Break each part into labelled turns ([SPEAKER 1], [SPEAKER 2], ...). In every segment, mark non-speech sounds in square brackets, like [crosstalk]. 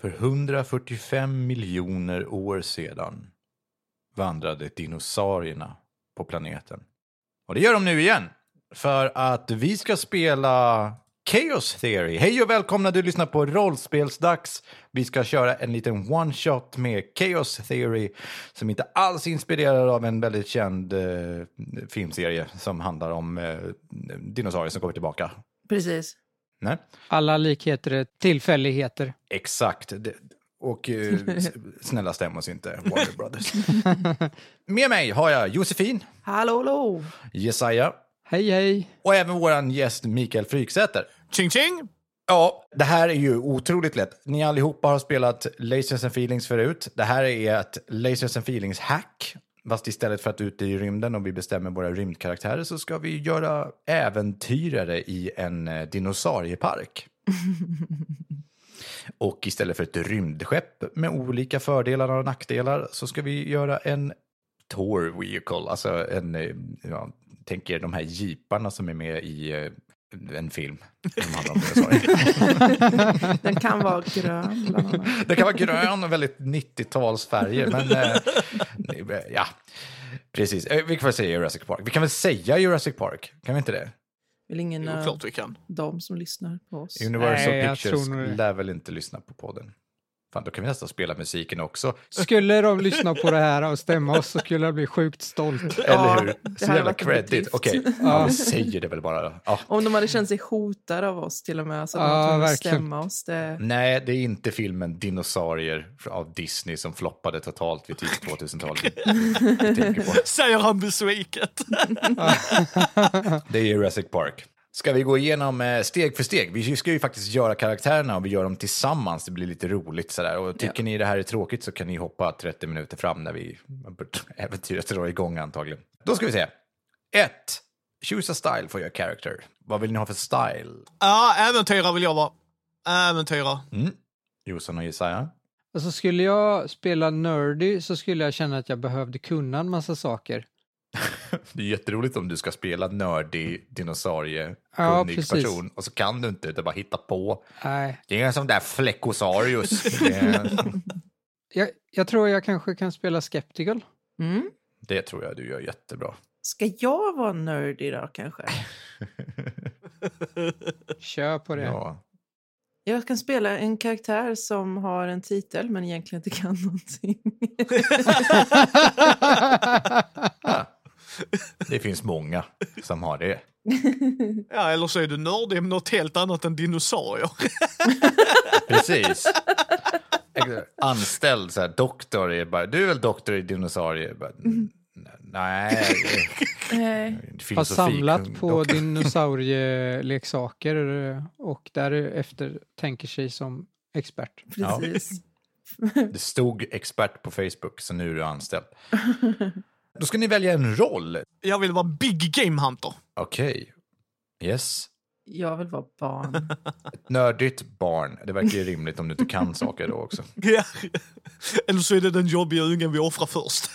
[SPEAKER 1] För 145 miljoner år sedan vandrade dinosaurierna på planeten. Och det gör de nu igen. För att vi ska spela Chaos Theory. Hej och välkomna, du lyssnar på Rollspelsdags. Vi ska köra en liten one-shot med Chaos Theory som inte alls är inspirerad av en väldigt känd eh, filmserie som handlar om eh, dinosaurier som kommer tillbaka.
[SPEAKER 2] Precis.
[SPEAKER 1] Nej,
[SPEAKER 3] Alla likheter är tillfälligheter.
[SPEAKER 1] exakt. Det, och eh, s- snälla stäm oss inte, Warner Brothers. med mig har jag Josefin,
[SPEAKER 2] Hallå, hallå!
[SPEAKER 1] Jesaja
[SPEAKER 3] Hej, hej.
[SPEAKER 1] och även vår gäst Mikael Fryksäter.
[SPEAKER 4] Ching ching!
[SPEAKER 1] Ja, det här är ju otroligt lätt. Ni allihopa har spelat Lasers and Feelings förut. Det här är ett Lasers and Feelings-hack. Fast istället för att ute i rymden och vi bestämmer våra rymdkaraktärer så ska vi göra äventyrare i en eh, dinosauriepark. [laughs] och istället för ett rymdskepp med olika fördelar och nackdelar så ska vi göra en tour vehicle, alltså en, eh, ja, tänk er de här jeeparna som är med i eh, en
[SPEAKER 3] [laughs]
[SPEAKER 1] film. som handlar om dinosaurier.
[SPEAKER 2] [laughs] Den kan vara grön, bland annat.
[SPEAKER 1] Den kan vara grön och väldigt 90-talsfärger. Men eh,
[SPEAKER 2] [laughs]
[SPEAKER 1] nej, ja, precis. Eh, Vi kan väl säga Jurassic Park. Vi kan väl säga Jurassic Park? Kan vi inte det?
[SPEAKER 2] Vill ingen
[SPEAKER 4] Jo,
[SPEAKER 2] av
[SPEAKER 4] klart vi kan.
[SPEAKER 2] dem som lyssnar på oss.
[SPEAKER 1] Universal
[SPEAKER 3] Nej, jag
[SPEAKER 1] Pictures
[SPEAKER 3] tror nog det.
[SPEAKER 1] lär väl inte lyssna på podden. Fan, då kan vi nästan spela musiken också.
[SPEAKER 3] Skulle de lyssna på det här och stämma oss så skulle jag bli sjukt stolt.
[SPEAKER 1] Eller
[SPEAKER 2] Ja,
[SPEAKER 1] hur?
[SPEAKER 2] det
[SPEAKER 1] Så
[SPEAKER 2] hade
[SPEAKER 1] jävla
[SPEAKER 2] varit en bedrift.
[SPEAKER 1] credit. Okej, ja,
[SPEAKER 3] Ja.
[SPEAKER 1] vi säger det väl bara. Ja.
[SPEAKER 2] Om de hade känt sig hotade av oss till och med, så hade
[SPEAKER 3] Ja,
[SPEAKER 2] de varit tvungna att
[SPEAKER 3] verkligen.
[SPEAKER 2] stämma oss. Det...
[SPEAKER 1] Nej, det är inte filmen Dinosaurier av Disney som floppade totalt vid tidigt 2000-tal. Jag tänker på.
[SPEAKER 4] Säger han besviket.
[SPEAKER 1] [laughs] Det är Jurassic Park. Ska vi gå igenom eh, steg för steg? Vi ska ju faktiskt göra karaktärerna och vi gör dem tillsammans. Det blir lite roligt sådär. Och tycker ni det här är tråkigt så kan ni hoppa 30 minuter fram när vi [laughs] äventyret drar igång antagligen. Då ska vi se. 1. Choose a style for your character. Vad vill ni ha för style?
[SPEAKER 4] Ja, äventyrare vill jag vara. Äventyrare.
[SPEAKER 1] Mm. Jossan och Jesaja?
[SPEAKER 3] Alltså skulle jag spela nerdy så skulle jag känna att jag behövde kunna en massa saker.
[SPEAKER 1] Det är jätteroligt om du ska spela nördig dinosaurie
[SPEAKER 3] Ja,
[SPEAKER 1] kunnig
[SPEAKER 3] precis.
[SPEAKER 1] person och så kan du inte utan bara hitta på.
[SPEAKER 3] Nej,
[SPEAKER 1] Det är en sån där
[SPEAKER 3] [laughs]
[SPEAKER 1] fläckosarius. Det är-
[SPEAKER 3] jag, jag tror jag kanske kan spela skeptical.
[SPEAKER 2] Mm.
[SPEAKER 1] Det tror jag du gör jättebra.
[SPEAKER 2] Ska jag vara nörd idag kanske?
[SPEAKER 3] Kör på det. [laughs]
[SPEAKER 1] Ja.
[SPEAKER 2] Jag kan spela en karaktär som har en titel men egentligen inte kan [laughs] någonting.
[SPEAKER 1] Ah. Det finns många som har det.
[SPEAKER 4] Ja, eller så är du nördig med något helt annat än dinosaurier.
[SPEAKER 1] Precis. Anställd så här, doktor är bara, du är väl doktor i dinosaurier? Bara, "N-
[SPEAKER 3] [laughs]
[SPEAKER 1] Nej,
[SPEAKER 2] [laughs] Nej.
[SPEAKER 1] filosofi.
[SPEAKER 3] Har samlat på
[SPEAKER 1] dock."
[SPEAKER 3] dinosaurieleksaker och därefter tänker sig som expert.
[SPEAKER 2] Precis.
[SPEAKER 1] Det stod expert på Facebook, så nu är du anställd. Då ska ni välja en roll.
[SPEAKER 4] Jag vill vara Big Game Hunter. [laughs]
[SPEAKER 1] Okej. Yes.
[SPEAKER 2] Jag vill vara
[SPEAKER 1] [laughs]
[SPEAKER 2] barn.
[SPEAKER 1] Ett nördigt barn. Det verkar ju rimligt om du inte kan saker då också.
[SPEAKER 4] Ja. Eller så är det den jobbiga ungen vi offrar först.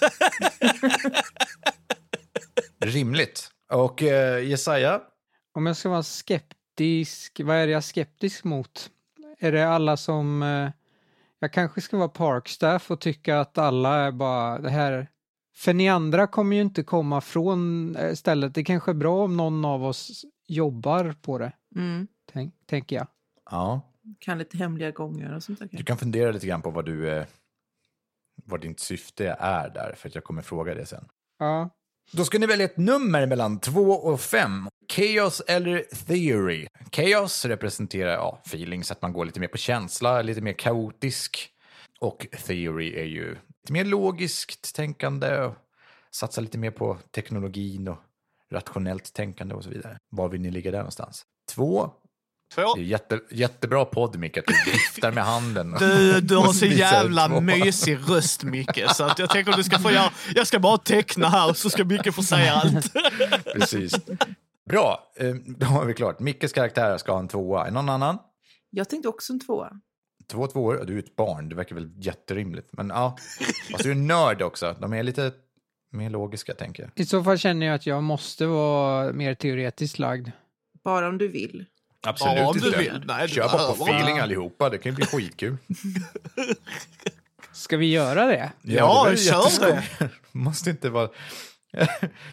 [SPEAKER 4] [laughs]
[SPEAKER 1] Rimligt. Och eh, Jesaja,
[SPEAKER 3] Om jag ska vara skeptisk, vad är det jag är skeptisk mot? Är det alla som... Eh, jag kanske ska vara parkstaff och tycka att alla är bara det här... För ni andra kommer ju inte komma från eh, stället. Det kanske är bra om någon av oss jobbar på det,
[SPEAKER 2] Mm.
[SPEAKER 3] tänk, tänker jag.
[SPEAKER 1] ja.
[SPEAKER 2] Kan lite hemliga gånger och sånt där.
[SPEAKER 1] Du
[SPEAKER 2] kanske.
[SPEAKER 1] kan fundera lite grann på vad du... eh, Vad ditt syfte är där, för att jag kommer fråga det sen.
[SPEAKER 3] Ja.
[SPEAKER 1] Då ska ni välja ett nummer mellan 2 och 5. Chaos eller theory. Chaos representerar ja, feelings, att man går lite mer på känsla, lite mer kaotisk. Och theory är ju lite mer logiskt tänkande, och satsar lite mer på teknologin och rationellt tänkande och så vidare. Var vill ni ligga där någonstans? 2.
[SPEAKER 4] Två.
[SPEAKER 1] Det är jätte, jättebra podd, Micke, att du viftar med handen.
[SPEAKER 4] [laughs] Du, du har så
[SPEAKER 1] Visar två.
[SPEAKER 4] jävla mysig röst Micke, så att jag tänker att du ska få göra, jag ska bara teckna här så ska Micke få
[SPEAKER 1] [laughs]
[SPEAKER 4] säga allt.
[SPEAKER 1] Precis. Bra, eh, då har vi klart. Mickes karaktär ska ha en tvåa. Är någon annan?
[SPEAKER 2] Jag tänkte också en tvåa.
[SPEAKER 1] Två tvåor? Ja, Du är ett barn, det verkar väl jätterimligt. Men ja, och så är du nörd också. De är lite mer logiska, tänker jag.
[SPEAKER 3] I så fall känner jag att jag måste vara mer teoretiskt lagd.
[SPEAKER 2] Bara om du vill.
[SPEAKER 1] Absolut
[SPEAKER 4] Ja, om
[SPEAKER 1] inte.
[SPEAKER 4] du vill. Nej, du
[SPEAKER 1] Typ Kör bara på
[SPEAKER 4] behöver inte.
[SPEAKER 1] feeling allihopa, det kan ju bli skitkul.
[SPEAKER 3] Ska vi göra det?
[SPEAKER 4] Ja,
[SPEAKER 1] var ju
[SPEAKER 4] kör
[SPEAKER 1] jätteskoj. [laughs] Måste inte vara...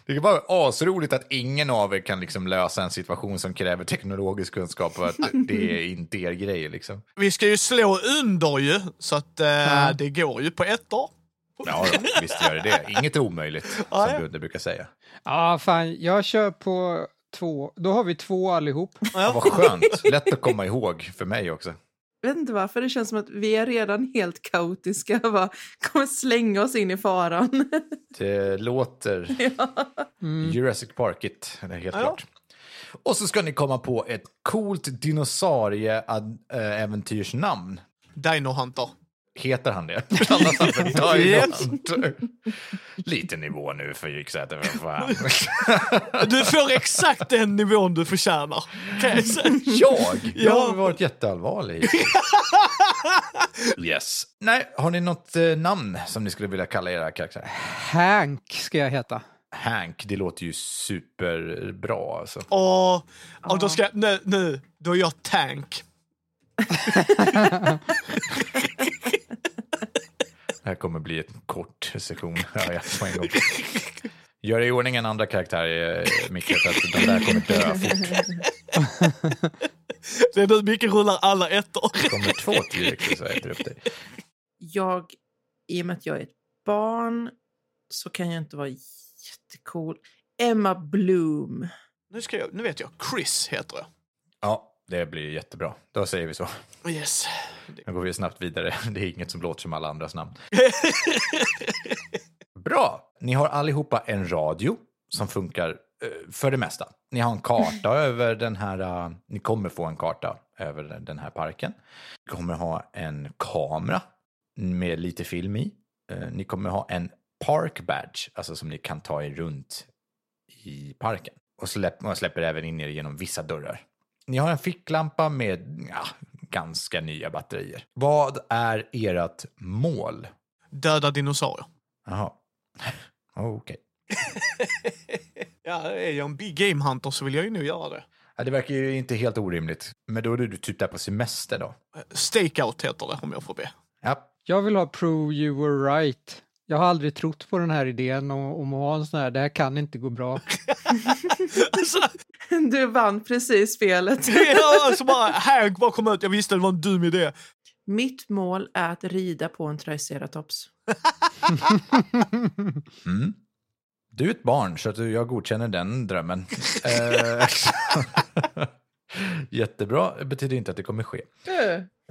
[SPEAKER 1] Det kan vara asroligt att ingen av er kan liksom lösa en situation som kräver teknologisk kunskap
[SPEAKER 4] [laughs]
[SPEAKER 1] och att det är inte er grej. Liksom.
[SPEAKER 4] Vi ska ju slå under ju, så att eh,
[SPEAKER 3] Ja.
[SPEAKER 4] det går ju på ettor. [laughs]
[SPEAKER 1] Ja, då, visst gör det det. Inget är omöjligt,
[SPEAKER 4] Ja,
[SPEAKER 1] som
[SPEAKER 4] ja.
[SPEAKER 1] Ludde brukar säga.
[SPEAKER 3] Ja, fan, jag kör på två. Då har vi två allihop.
[SPEAKER 1] Ja, vad skönt. Lätt att komma ihåg för mig också.
[SPEAKER 2] Jag vet inte varför, det känns som att vi är redan helt kaotiska och bara kommer slänga oss in i faran.
[SPEAKER 1] Det låter
[SPEAKER 3] Mm.
[SPEAKER 1] Jurassic Parkigt, det är helt
[SPEAKER 4] Ja.
[SPEAKER 1] klart. Och så ska ni komma på ett coolt dinosaurie-äventyrsnamn.
[SPEAKER 4] Dino Hunter.
[SPEAKER 1] Heter han det? Kallas han för Dino-Hunter? [laughs] Lite nivå nu för Yxäter, för fan.
[SPEAKER 4] Du får exakt den nivån du förtjänar. Kan jag säga.
[SPEAKER 1] Jag? Jag
[SPEAKER 4] Ja.
[SPEAKER 1] har varit jätteallvarlig. Yes. Nej, har ni något eh, namn som ni skulle vilja kalla era karaktärer?
[SPEAKER 3] Hank ska jag heta.
[SPEAKER 1] Hank, det låter ju superbra alltså.
[SPEAKER 4] Och, och då ska jag, nu, nu, då är jag tank.
[SPEAKER 1] Det här kommer bli en kort session. [laughs] hör jag på en gång. Gör i ordning en andra karaktär, eh, Micke, för att den där kommer dö fort.
[SPEAKER 2] [laughs]
[SPEAKER 4] Det är nu Micke rullar alla ettor.
[SPEAKER 1] kommer två till Erik, så jag äter upp dig.
[SPEAKER 2] Jag, i och med att jag är ett barn, så kan jag inte vara jättecool. Emma Bloom.
[SPEAKER 4] Nu, ska jag, nu vet jag, Chris heter jag.
[SPEAKER 1] Ja, det blir jättebra. Då säger vi så.
[SPEAKER 4] Yes.
[SPEAKER 1] Nu går vi snabbt vidare. [laughs] Det är inget som låter som alla andras namn. Bra! Ni har allihopa en radio som funkar eh, för det mesta. Ni har en karta över den här... eh, Ni kommer få en karta över den- den här parken. Ni kommer ha en kamera med lite film i. Eh, Ni kommer ha en park badge, alltså som ni kan ta er runt i parken. Och släpp, man släpper även in er genom vissa dörrar. Ni har en ficklampa med ja, ganska nya batterier. Vad är ert mål?
[SPEAKER 4] Döda dinosaurier.
[SPEAKER 1] Jaha. [laughs] Oh, Okej.
[SPEAKER 4] Ja, är jag en big game hunter så vill jag ju nu göra det.
[SPEAKER 1] Ja, det verkar ju inte helt orimligt. Men då är du typ där på semester då?
[SPEAKER 4] Stakeout heter det om jag får be.
[SPEAKER 1] Ja.
[SPEAKER 3] Jag vill ha Prove You Were Right. Jag har aldrig trott på den här idén om, om att ha en sån här, det här kan inte gå bra.
[SPEAKER 4] Alltså,
[SPEAKER 2] [laughs] Du vann precis spelet.
[SPEAKER 4] det är alltså bara, Hank bara kom ut, jag visste det var en dum idé.
[SPEAKER 2] [laughs] Mitt mål är att rida på en triceratops.
[SPEAKER 1] Mm. Du är ett barn, så att du- jag godkänner den drömmen. Eh, [laughs] Jättebra. Det betyder inte att det kommer ske.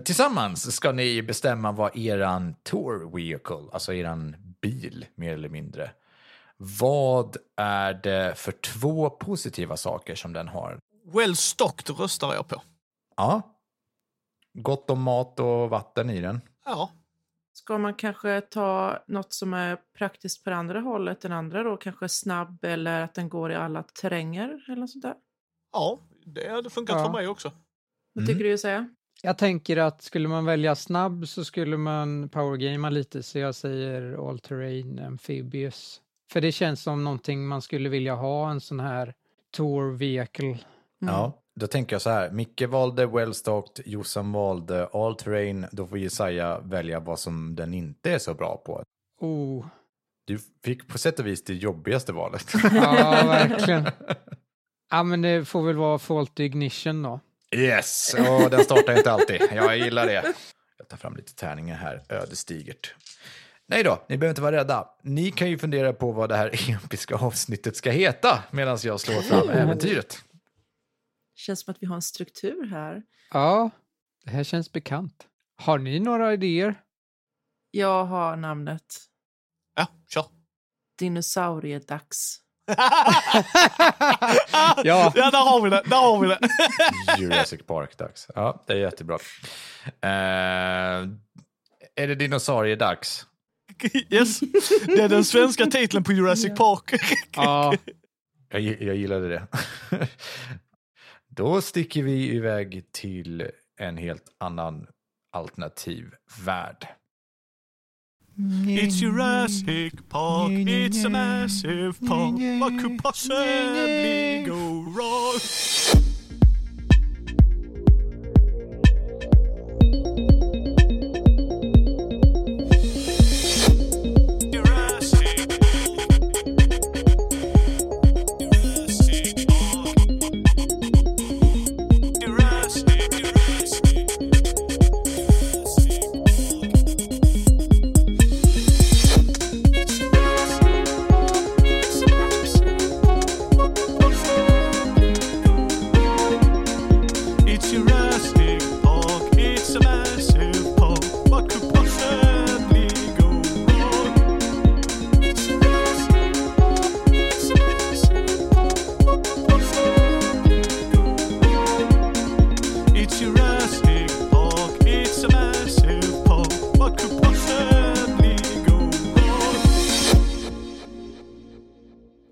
[SPEAKER 1] Tillsammans ska ni bestämma vad eran tour vehicle, alltså eran bil mer eller mindre. Vad är det för två positiva saker som den har?
[SPEAKER 4] Well stocked röstar jag på.
[SPEAKER 1] Ja. Gott om mat och vatten i den.
[SPEAKER 4] Ja,
[SPEAKER 2] Ska man kanske ta något som är praktiskt på det andra hållet än andra då? Kanske snabb eller att den går i alla terränger eller något sånt där?
[SPEAKER 4] ja det hade funkat
[SPEAKER 3] Ja.
[SPEAKER 4] för mig också.
[SPEAKER 2] Vad
[SPEAKER 1] Mm.
[SPEAKER 2] tycker du säga?
[SPEAKER 3] Jag tänker att skulle man välja snabb så skulle man powergamea lite så jag säger All Terrain Amphibious. För det känns som någonting man skulle vilja ha en sån här Tour Vehicle.
[SPEAKER 2] Mm.
[SPEAKER 1] Ja. Då tänker jag så här. Micke valde Wellstocked, Jossan valde All Terrain. Då får Jesaja välja vad som den inte är så bra på.
[SPEAKER 3] Oh,
[SPEAKER 1] Du fick på sätt och vis det jobbigaste valet.
[SPEAKER 3] ja verkligen. Ja men det får väl vara Fault Ignition då.
[SPEAKER 1] Yes, och den startar inte alltid. Jag gillar det. Jag tar fram lite tärningar här, ödesdigert. Nej då, ni behöver inte vara rädda. Ni kan ju fundera på vad det här [laughs] episka avsnittet ska heta medan jag slår fram äventyret.
[SPEAKER 2] Känns som att vi har en struktur här.
[SPEAKER 3] Ja, det här känns bekant. Har ni några idéer?
[SPEAKER 2] Jag har namnet
[SPEAKER 4] Ja, kör.
[SPEAKER 2] Dinosauriedags.
[SPEAKER 3] Ja.
[SPEAKER 4] ja, där har vi det. Där har vi det.
[SPEAKER 1] Jurassic Park-dags. Ja, det är jättebra. Eh, är det dinosaurie-dags?
[SPEAKER 4] Yes. Det är den svenska titeln på Jurassic Park.
[SPEAKER 3] Ja,
[SPEAKER 1] Jag, gi- jag gillade det. [laughs] Då sticker vi iväg till en helt annan alternativ värld.
[SPEAKER 4] It's Jurassic Park, it's a massive park. What could possibly go wrong?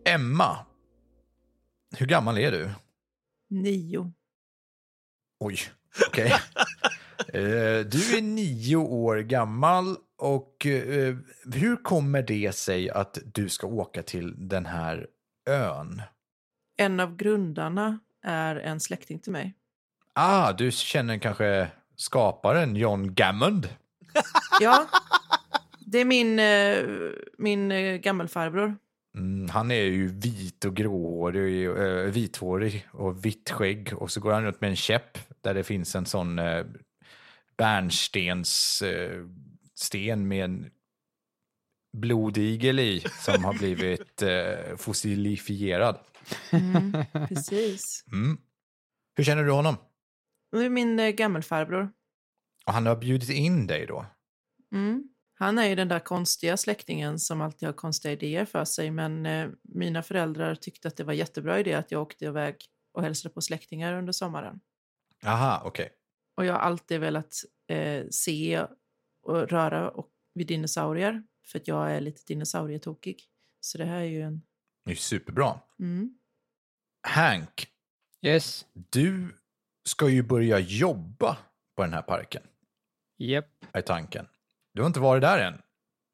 [SPEAKER 1] Emma, hur gammal är du?
[SPEAKER 2] Nio.
[SPEAKER 1] Oj, okej. Eh, du är nio år gammal och eh, hur kommer det sig att du ska åka till den här ön?
[SPEAKER 2] En av grundarna är en släkting till mig.
[SPEAKER 1] Ah, du känner kanske skaparen John Gammond?
[SPEAKER 2] Ja, det är min, eh, min eh, gammelfarbror.
[SPEAKER 1] Mm, han är ju vit och gråhårig, eh, vithårig och vitt skägg och så går han runt med en käpp där det finns en sån eh, bärnstens eh, sten med en blodigel i som har blivit eh, fossilifierad.
[SPEAKER 2] Mm, precis.
[SPEAKER 1] Mm. Hur känner du honom?
[SPEAKER 2] Det är min eh, gammelfarbror.
[SPEAKER 1] Och han har bjudit in dig då?
[SPEAKER 2] Mm. Han är ju den där konstiga släktingen som alltid har konstiga idéer för sig men eh, mina föräldrar tyckte att det var jättebra idé att jag åkte iväg och hälsade på släktingar under sommaren.
[SPEAKER 1] Aha, okej.
[SPEAKER 2] Och jag har alltid velat eh, se och röra och, vid dinosaurier för att jag är lite dinosaurietokig. Så det här är ju en...
[SPEAKER 1] Det är ju superbra.
[SPEAKER 2] Mm.
[SPEAKER 1] Hank,
[SPEAKER 3] Yes.
[SPEAKER 1] du ska ju börja jobba på den här parken,
[SPEAKER 3] Japp.
[SPEAKER 1] är tanken. Du har inte varit där än.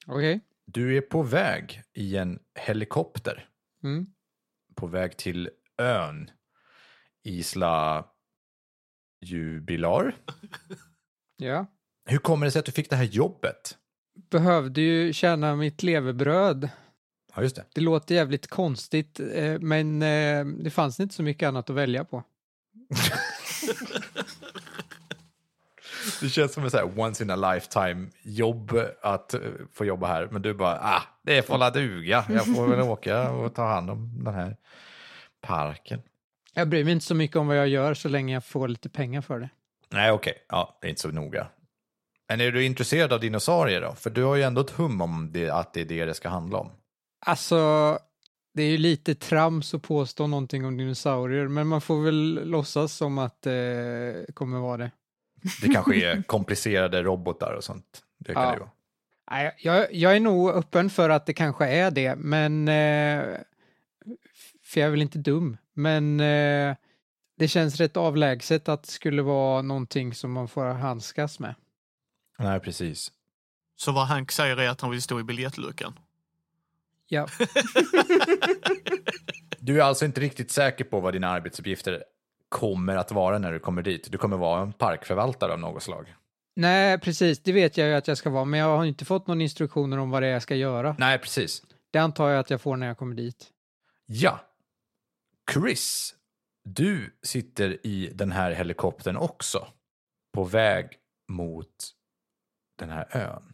[SPEAKER 3] Okej.
[SPEAKER 1] Du är på väg i en helikopter
[SPEAKER 3] Mm.
[SPEAKER 1] på väg till ön Isla Jubilar.
[SPEAKER 3] Ja.
[SPEAKER 1] Hur kommer det sig att du fick det här jobbet?
[SPEAKER 3] Behövde ju tjäna mitt levebröd.
[SPEAKER 1] Ja, just det.
[SPEAKER 3] Det låter jävligt konstigt, eh, men eh, det fanns inte så mycket annat att välja på.
[SPEAKER 1] Det känns som en så här once in a lifetime jobb att eh, få jobla här. Men du bara, ah, det får la duga. Jag får väl åka och ta hand om den här parken.
[SPEAKER 3] Jag bryr mig inte så mycket om vad jag gör så länge jag får lite pengar för det.
[SPEAKER 1] Nej, okej. Ja, det är inte så noga. Men är du intresserad av dinosaurier då? För du har ju ändå ett hum om det, att det är det det ska handla om.
[SPEAKER 3] Alltså, det är ju lite trams att påstå någonting om dinosaurier, men man får väl låtsas som att eh, det kommer vara det.
[SPEAKER 1] Det kanske är komplicerade robotar och sånt. Det kan
[SPEAKER 3] Ja.
[SPEAKER 1] det ju vara.
[SPEAKER 3] Nej, Jag, jag är nog öppen för att det kanske är det, men... eh, För jag är väl inte dum, men eh, det känns rätt avlägset att det skulle vara någonting som man får handskas med.
[SPEAKER 1] Nej, precis.
[SPEAKER 4] Så vad Hank säger är att han vill stå i biljettluckan.
[SPEAKER 3] Ja,
[SPEAKER 1] Du är alltså inte riktigt säker på vad dina arbetsuppgifter kommer att vara när du kommer dit. Du kommer vara en parkförvaltare av något slag.
[SPEAKER 3] [laughs] nej, precis, det vet jag ju att jag ska vara, men jag har inte fått någon instruktioner om vad det är jag ska göra.
[SPEAKER 1] Nej, precis.
[SPEAKER 3] Det antar jag att jag får när jag kommer dit.
[SPEAKER 1] Ja. Chris, du sitter i den här helikoptern också. På väg mot den här ön.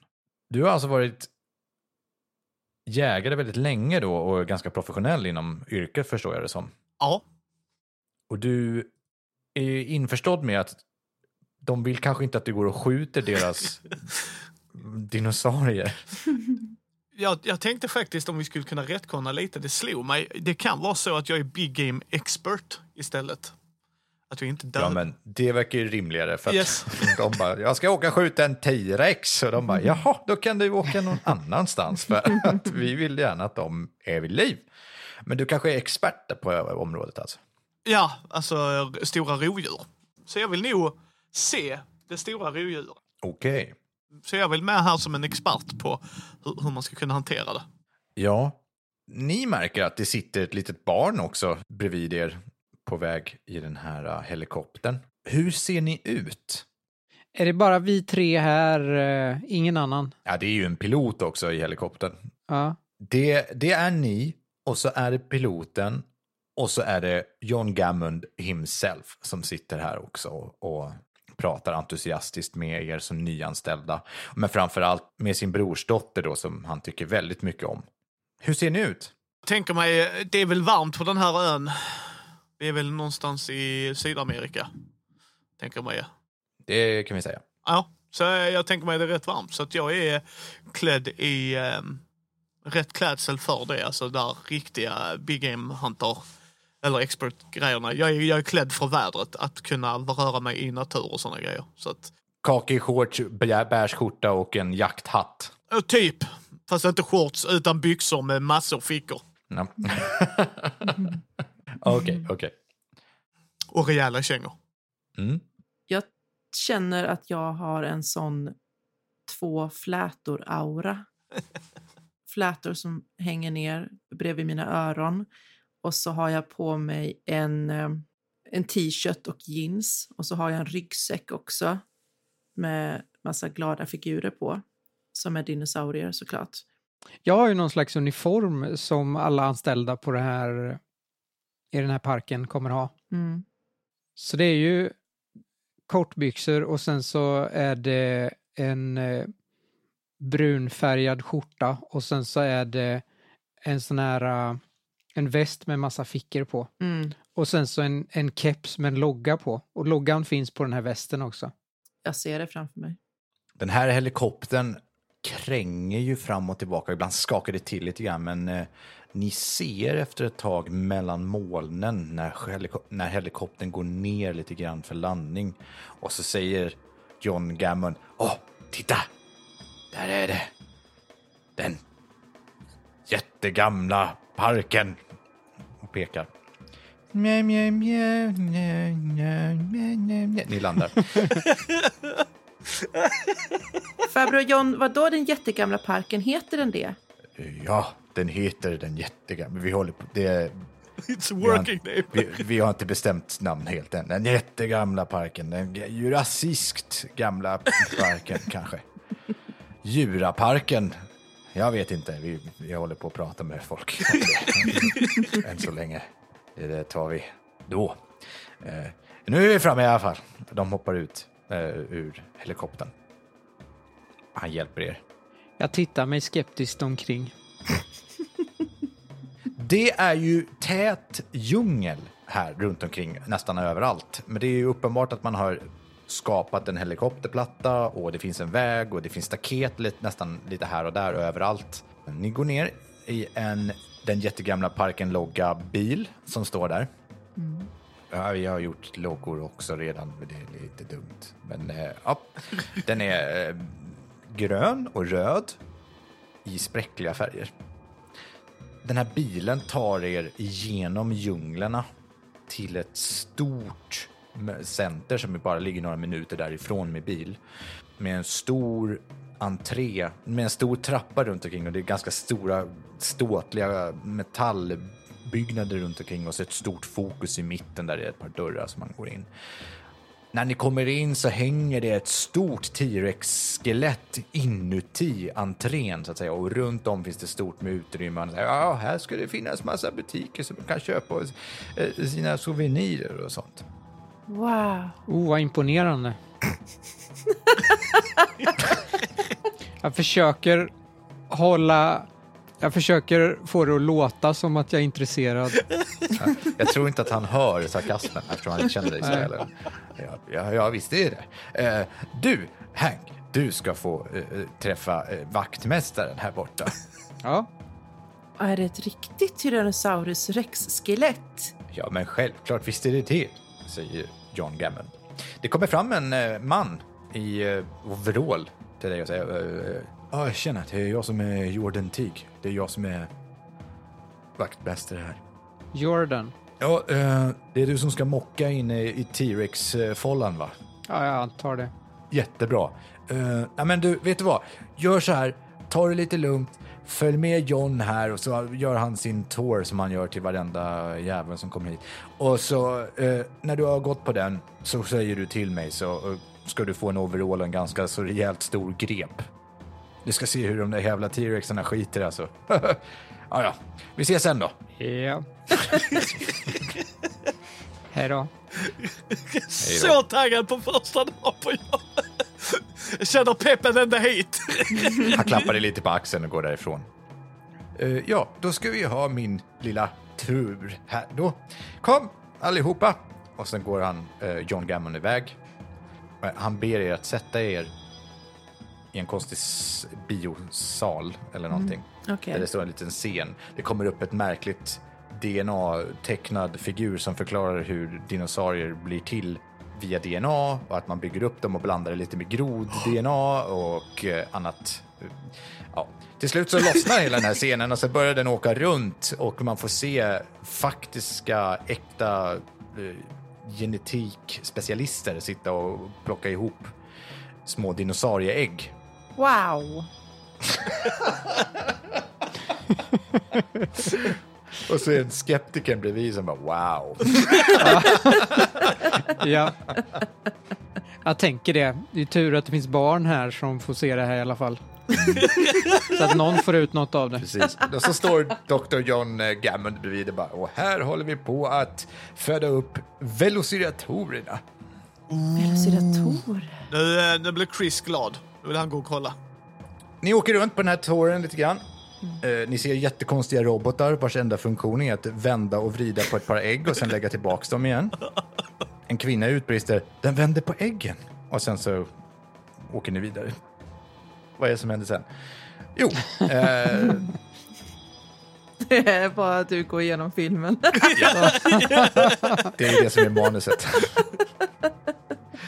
[SPEAKER 1] Du har alltså varit jägare väldigt länge då och är ganska professionell inom yrket förstår jag det som.
[SPEAKER 4] Ja,
[SPEAKER 1] Och du är ju införstådd med att de vill kanske inte att du går och skjuter deras dinosaurier.
[SPEAKER 4] jag, jag tänkte faktiskt om vi skulle kunna rättkonna lite. Det slog mig. Det kan vara så att jag är big game expert istället. Att vi inte dödar.
[SPEAKER 1] Ja, men det verkar ju rimligare. För att
[SPEAKER 4] Yes.
[SPEAKER 1] [laughs] De bara, jag ska åka och skjuta en T-rex. Och de bara, jaha, då kan du åka någon annanstans. För att vi vill gärna att de är vid liv. Men du kanske är expert på området alltså?
[SPEAKER 4] Ja, alltså r- stora rovdjur. Så jag vill nog se det stora rovdjuret.
[SPEAKER 1] Okej.
[SPEAKER 4] Så jag vill med här som en expert på hur, hur man ska kunna hantera det.
[SPEAKER 1] Ja. Ni märker att det sitter ett litet barn också bredvid er på väg i den här eh, helikoptern. Hur ser ni ut?
[SPEAKER 3] Är det bara vi tre här, eh, ingen annan?
[SPEAKER 1] Ja, det är ju en pilot också i helikoptern.
[SPEAKER 3] Ja.
[SPEAKER 1] Det, det är ni, och så är det piloten och så är det John Gammond himself som sitter här också och pratar entusiastiskt med er som nyanställda. Men framför allt med sin brorsdotter då som han tycker väldigt mycket om. Hur ser ni ut?
[SPEAKER 4] Tänker mig, det är väl varmt på den här ön. Vi är väl någonstans i Sydamerika. Tänker mig.
[SPEAKER 1] Det kan vi säga.
[SPEAKER 4] Ja, så jag tänker mig det är rätt varmt. Så att jag är klädd i eh, rätt klädsel för det. Alltså där riktiga big game hunter eller expert-grejerna. Jag är, jag är klädd för vädret, att kunna röra mig i natur och såna grejer. Så att,
[SPEAKER 1] Kakig shorts, bä- bärsskjorta och en jakthatt.
[SPEAKER 4] ja, typ, fast inte shorts utan byxor med massor fickor.
[SPEAKER 1] Ja. [laughs] Okej, okej.
[SPEAKER 4] Och rejäla kängor.
[SPEAKER 1] Mm.
[SPEAKER 2] Jag känner att jag har en sån två flätor-aura. flätor som hänger ner bredvid mina öron. Och så har jag på mig en, eh, en t-shirt och jeans. Och så har jag en ryggsäck också med massa glada figurer på. Som är dinosaurier såklart.
[SPEAKER 3] Jag har ju någon slags uniform som alla anställda på det här, i den här parken kommer ha.
[SPEAKER 2] Mm.
[SPEAKER 3] Så det är ju kortbyxor och sen så är det en eh, brunfärgad skjorta och sen så är det en sån här eh, en väst med massa fickor på
[SPEAKER 2] Mm.
[SPEAKER 3] och sen så en, en keps med en logga på och loggan finns på den här västen också.
[SPEAKER 2] Jag ser det framför mig.
[SPEAKER 1] Den här helikoptern kränger ju fram och tillbaka. Ibland skakar det till lite grann, men eh, ni ser efter ett tag mellan molnen när, heliko- när helikoptern går ner lite grann för landning. Och så säger John Gammon, åh, titta! Där är det! Den jättegamla parken! Och pekar. Mjau, mjau, mjau, mjau, mjau, mjau, mjau, mjau. Ni landar.
[SPEAKER 2] Farbror John, vad då den jättegamla parken? Heter den det?
[SPEAKER 1] Ja, den heter den jättegamla. Vi håller på... Det,
[SPEAKER 4] It's a
[SPEAKER 1] vi, har,
[SPEAKER 4] working name.
[SPEAKER 1] inte- vi, vi har inte bestämt namn helt än. Den jättegamla parken. Den jurassiskt gamla
[SPEAKER 4] [laughs]
[SPEAKER 1] parken kanske. Djuraparken. Jag vet inte. Vi, vi håller på att prata med folk. om
[SPEAKER 4] [laughs]
[SPEAKER 1] det. Än så länge. Det där tar vi då. Eh, nu är vi framme i alla fall. De hoppar ut eh, ur helikoptern. Han hjälper er.
[SPEAKER 3] Jag tittar mig skeptiskt omkring.
[SPEAKER 1] Det är ju tät djungel här runt omkring, nästan överallt. Men det är ju uppenbart att man har skapat en helikopterplatta och det finns en väg och det finns staket lite, nästan lite här och där överallt. Ni går ner i en, den jättegamla parken logga bil som står där. Ja, vi har gjort loggor också redan, men det är lite dumt. Men eh, ja, den är eh, grön och röd i spräckliga färger den här bilen tar er genom djunglerna till ett stort center som bara ligger några minuter därifrån med bil. Med en stor entré, med en stor trappa runt omkring och det är ganska stora ståtliga metallbyggnader runt omkring och så ett stort fokus i mitten där det är ett par dörrar som man går in. När ni kommer in så hänger det ett stort T-Rex-skelett inuti entrén så att säga och runt om finns det stort med utrymmen. Så här, Ja, här ska det finnas massa butiker som man kan köpa eh, sina souvenirer och sånt.
[SPEAKER 2] Wow.
[SPEAKER 3] Oh, vad imponerande. [laughs] jag försöker hålla... Jag försöker få det att låta som att jag är intresserad.
[SPEAKER 1] Jag tror inte att han hör sarkasmen eftersom han inte känner dig så heller. Ja, ja, ja, visst är det. Eh, du, Hank, du ska få eh, träffa eh, vaktmästaren här borta.
[SPEAKER 3] Ja.
[SPEAKER 2] Är det ett riktigt Tyrannosaurus rex-skelett?
[SPEAKER 1] Ja, men självklart visst är det det, säger John Gammon. Det kommer fram en eh, man i eh, overall till dig och säger eh, eh, "Ja, Tjena, det är jag som är Jordan Tig. Det är jag som är vaktmästare här.
[SPEAKER 3] Jordan.
[SPEAKER 1] Ja, eh, det är du som ska mocka in i, i T-Rex-follan, va?
[SPEAKER 3] Ja, jag antar det.
[SPEAKER 1] Jättebra. Uh, nej men du, vet du vad? Gör så här, ta det lite lugnt, följ med John här och så gör han sin tour som han gör till varenda jävel som kommer hit. Och så eh, när du har gått på den så säger du till mig så eh, ska du få en overall och en ganska så rejält stor grep. Du ska se hur de där jävla T-rexarna skiter alltså. [laughs] ja, ja, vi ses sen då.
[SPEAKER 3] Ja. [laughs] Hej då.
[SPEAKER 4] Så taggad på första dagen på jobbet. Jag känner peppen ända hit.
[SPEAKER 1] Han klappar dig lite på axeln och går därifrån. Eh, ja, då ska vi ha min lilla tur här då. Kom allihopa! Och sen går han, eh, John Gammon, iväg. Eh, han ber er att sätta er i en konstig s- biosal eller någonting.
[SPEAKER 2] Okej.
[SPEAKER 1] Där det står en liten scen. Det kommer upp ett märkligt DNA-tecknad figur som förklarar hur dinosaurier blir till via DNA och att man bygger upp dem och blandar det lite med grod-DNA och eh, annat. Ja. Till slut så lossnar hela den här scenen och så börjar den åka runt och man får se faktiska, äkta eh, genetikspecialister sitta och plocka ihop små dinosaurieägg.
[SPEAKER 2] Wow!
[SPEAKER 1] Och så är en skeptiker bredvid som bara wow.
[SPEAKER 3] Ja. Jag tänker det. Det är tur att det finns barn här som får se det här i alla [laughs] fall. Så att någon får ut något av det.
[SPEAKER 1] Precis. Och så står Dr. John eh, Gammond bredvid och bara, och här håller vi på att föda upp velociraptorerna.
[SPEAKER 2] Velociraptorer.
[SPEAKER 4] Nu, eh, nu blir Chris glad. Nu vill han gå och kolla.
[SPEAKER 1] Ni åker runt på den här tåren lite grann. Eh, ni ser jättekonstiga robotar vars enda funktion är att vända och vrida på ett par ägg och sen lägga tillbaks dem igen. En kvinna utbrister, den vänder på äggen. Och sen så åker ni vidare. Vad är det som händer sen? Jo, eh,
[SPEAKER 2] [laughs] Det är bara att du går igenom filmen.
[SPEAKER 1] det är det som är manuset.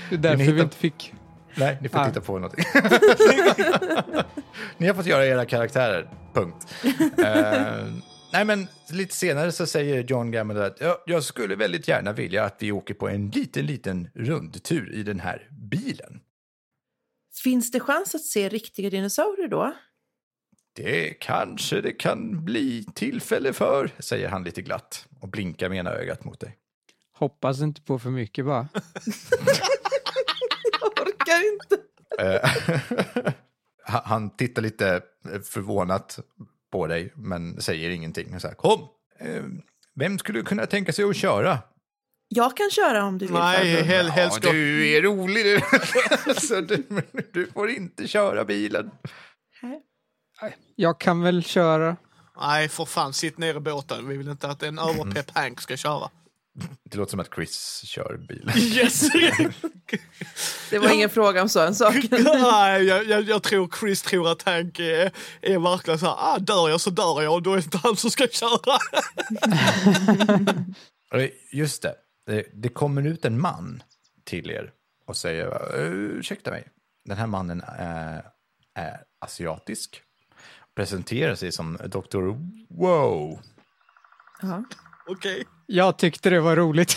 [SPEAKER 3] Det är därför vi
[SPEAKER 1] hittar-
[SPEAKER 3] inte fick...
[SPEAKER 1] Nej, ni får
[SPEAKER 3] Ah.
[SPEAKER 1] titta på någonting. [laughs] ni har fått göra era karaktärer, punkt. Eh, nej, men lite senare så säger John Gammon att jag, jag skulle väldigt gärna vilja att vi åker på en liten, liten rundtur i den här bilen.
[SPEAKER 2] [laughs] Finns det chans att se riktiga dinosaurier då?
[SPEAKER 1] Det kanske det kan bli tillfälle för, säger han lite glatt och blinkar med ena ögat mot dig.
[SPEAKER 3] Hoppas inte på för mycket bara.
[SPEAKER 2] Jag orkar inte.
[SPEAKER 1] Eh, [laughs] han- han tittar lite eh, förvånat på dig, men säger ingenting. Så här, Kom! Eh, Vem skulle kunna tänka sig att köra?
[SPEAKER 2] Jag kan köra om du vill.
[SPEAKER 4] Nej,
[SPEAKER 2] farbror.
[SPEAKER 4] hel,
[SPEAKER 1] Ja,
[SPEAKER 4] helst gå.
[SPEAKER 1] du är rolig du. [laughs] så du, du får inte köra bilen.
[SPEAKER 2] Nej.
[SPEAKER 3] Jag kan väl köra.
[SPEAKER 4] Nej, för fan, sitt ner i båten. Vi vill inte att en överpepp
[SPEAKER 1] Mm.
[SPEAKER 4] Hank ska köra.
[SPEAKER 1] Det låter som att Chris kör bilen.
[SPEAKER 4] Yes!
[SPEAKER 2] Det var ingen fråga om sån sak.
[SPEAKER 4] Nej, jag, jag, jag tror Chris tror att Hank är, är verkligen så här, ah, dör jag så dör jag och då är det inte han som ska köra. [laughs]
[SPEAKER 1] Eh, Just det. Eh, Det kommer ut en man till er och säger "Eh, ursäkta mig. Den här mannen är, är asiatisk. Presenterar sig som Dr. Wow.
[SPEAKER 2] Ja.
[SPEAKER 4] Okej.
[SPEAKER 3] Jag tyckte det var roligt.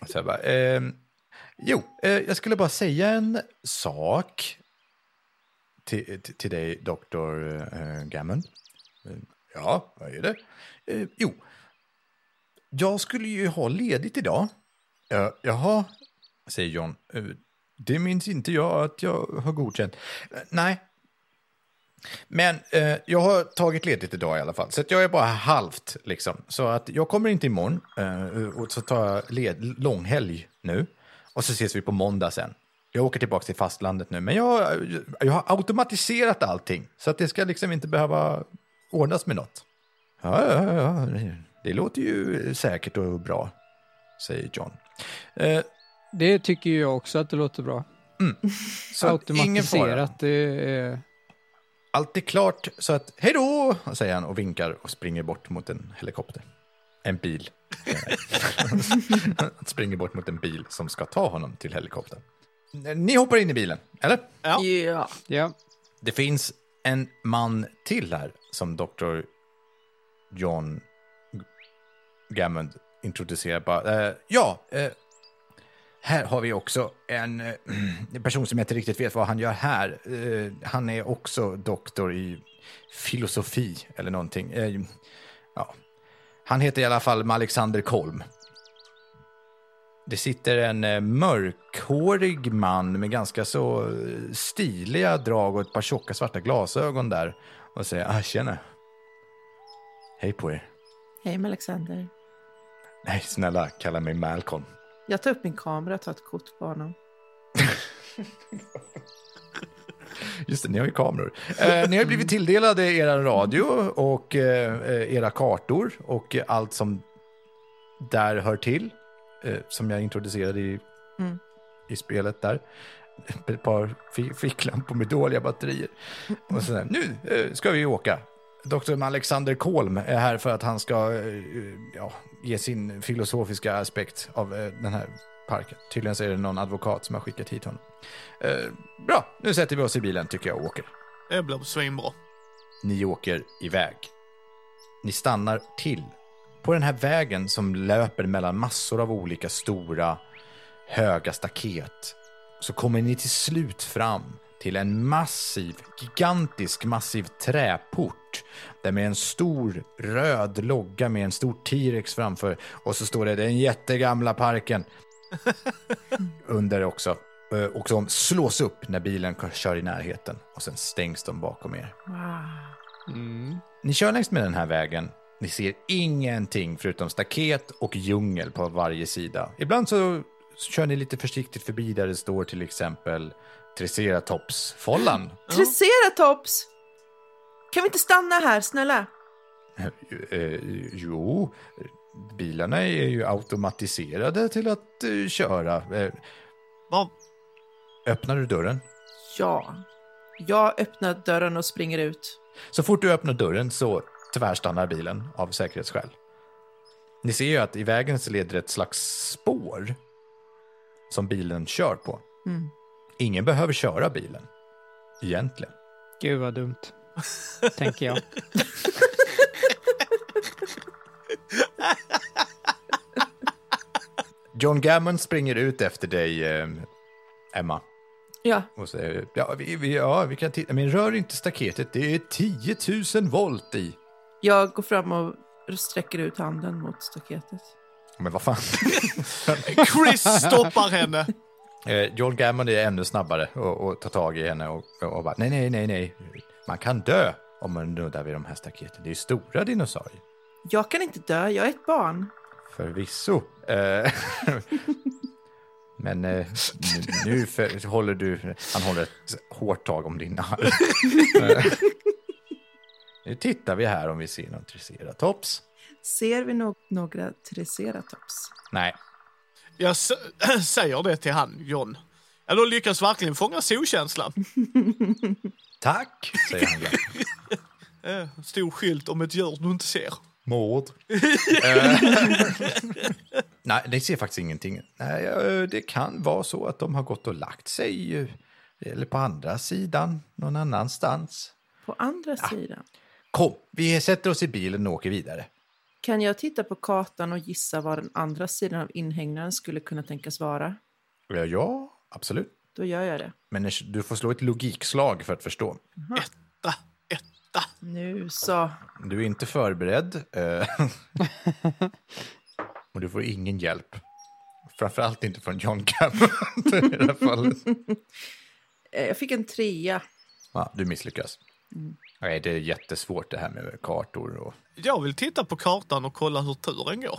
[SPEAKER 1] Och Så jag bara, ehm, jo, eh, jag skulle bara säga en sak till, till, till dig, doktor eh, Gammon. Eh, Ja, vad är det? Eh, jo, jag skulle ju ha ledigt idag. Eh, jaha, säger John. Eh, det minns inte jag att jag har godkänt. Eh, nej. Men eh, jag har tagit ledigt idag i alla fall, så att jag är bara halvt. Liksom. Så att jag kommer inte imorgon, eh, och så tar jag led- långhelg nu. Och så ses vi på måndag sen. Jag åker tillbaka till fastlandet nu, men jag, jag har automatiserat allting. Så att det ska liksom inte behöva ordnas med något. Ja, ja, ja, det låter ju säkert och bra, säger John. Eh,
[SPEAKER 3] Det tycker ju jag också att det låter bra.
[SPEAKER 1] så att ingen fara.
[SPEAKER 3] Automatiserat. Det är...
[SPEAKER 1] Allt är klart, så att hej då, säger han och vinkar och springer bort mot en helikopter. En bil. han springer bort mot en bil som ska ta honom till helikoptern. Ni hoppar in i bilen, eller?
[SPEAKER 4] Ja.
[SPEAKER 2] Ja.
[SPEAKER 3] Ja.
[SPEAKER 1] Det finns en man till här som Dr. John G- Gammond introducerar. Bara, eh, ja, eh, här har vi också en eh, [clears throat] person som jag inte riktigt vet vad han gör här. Eh, han är också doktor i filosofi eller någonting. Eh, ja. Han heter i alla fall Alexander Kolm. Det sitter en eh, mörkhårig man med ganska så eh, stiliga drag och ett par tjocka svarta glasögon där och säger ah, tjena. Hej på er.
[SPEAKER 2] Hej med Alexander.
[SPEAKER 1] Nej, snälla, kalla mig Malcolm.
[SPEAKER 2] Jag tar upp min kamera och tar ett kort på honom.
[SPEAKER 1] Just det, ni har ju kameror. Eh, ni har ju blivit tilldelade er radio och eh, eh, era kartor och eh, allt som där hör till, eh, som jag introducerade i,
[SPEAKER 2] Mm.
[SPEAKER 1] i spelet där. Ett par fi- ficklampor med dåliga batterier. Och så där, nu eh, ska vi åka. Dr. Alexander Kolm är här för att han ska eh, ja, ge sin filosofiska aspekt av eh, den här parken. Tydligen så är det någon advokat som har skickat hit honom. Eh, bra, nu sätter vi oss i bilen tycker jag och åker.
[SPEAKER 4] Det blir svinbra.
[SPEAKER 1] Ni åker iväg. Ni stannar till på den här vägen som löper mellan massor av olika stora höga staket. Så kommer ni till slut fram till en massiv, gigantisk, massiv träport. Där med en stor röd logga med en stor T-rex framför och så står det den jättegamla parken under också. Eh, Och som slås upp när bilen kör i närheten och sen stängs de bakom er.
[SPEAKER 2] Wow.
[SPEAKER 3] Mm.
[SPEAKER 1] Ni kör längs med den här vägen. Ni ser ingenting förutom staket och djungel på varje sida. Ibland så kör ni lite försiktigt förbi där det står till exempel Triceratops-follan.
[SPEAKER 2] Triceratops! Kan vi inte stanna här, snälla?
[SPEAKER 1] Eh, jo, bilarna är ju automatiserade till att eh, köra. Eh,
[SPEAKER 4] Var,
[SPEAKER 1] öppnar du dörren?
[SPEAKER 2] Ja. Jag öppnar dörren och springer ut.
[SPEAKER 1] Så fort du öppnar dörren så tvärstannar bilen av säkerhetsskäl. Ni ser ju att i vägen så leder ett slags spår som bilen kör på.
[SPEAKER 2] Mm.
[SPEAKER 1] Ingen behöver köra bilen, egentligen.
[SPEAKER 3] Gud vad dumt, tänker jag.
[SPEAKER 1] John Gammon springer ut efter dig, eh, Emma,
[SPEAKER 2] Ja,
[SPEAKER 1] och säger ja, vi, vi, ja, vi kan titta, men rör inte staketet, det är 10 000 volt i.
[SPEAKER 2] jag går fram och sträcker ut handen mot staketet.
[SPEAKER 1] Men vad fan.
[SPEAKER 4] Chris stoppar henne.
[SPEAKER 1] Eh, John Gammon är ännu snabbare och, och tar tag i henne och, och bara nej, nej, nej, nej. Man kan dö om man nuddar vid de här staketen. Det är ju stora dinosaurier.
[SPEAKER 2] Jag kan inte dö, jag är ett barn.
[SPEAKER 1] Förvisso. Eh, [laughs] Men eh, nu- nu för, håller du... Han håller ett hårt tag om din arm. Eh, nu tittar vi här om vi ser någon triceratops.
[SPEAKER 2] Ser vi no- några triceratops?
[SPEAKER 1] Nej,
[SPEAKER 4] Jag s- [clears throat] säger det till han, John. Ja, då lyckas verkligen fånga solkänslan.
[SPEAKER 1] tack, säger han. glatt.
[SPEAKER 4] Eh, Stor skylt om ett djur du inte ser.
[SPEAKER 1] Maud. Eh, Nej, det ser faktiskt ingenting. Nej, eh, det kan vara så att de har gått och lagt sig. eh, Eller på andra sidan, någon annanstans.
[SPEAKER 2] På andra sidan.
[SPEAKER 1] Kom, vi sätter oss i bilen och åker vidare.
[SPEAKER 2] Kan jag titta på kartan och gissa var den andra sidan av inhägnaden skulle kunna tänkas vara?
[SPEAKER 1] Ja, Ja, absolut.
[SPEAKER 2] Då gör jag det.
[SPEAKER 1] Men eh, du får slå ett logikslag för att förstå.
[SPEAKER 4] Etta, etta.
[SPEAKER 2] Nu så.
[SPEAKER 1] Du är inte förberedd. eh, [laughs] och du får ingen hjälp. Framförallt inte från John Cameron [laughs] i det här fallet.
[SPEAKER 2] Eh, Jag fick en trea.
[SPEAKER 1] Ja, du misslyckas. Nej, det är jättesvårt det här med kartor. Och...
[SPEAKER 4] Jag vill titta på kartan och kolla hur turen går.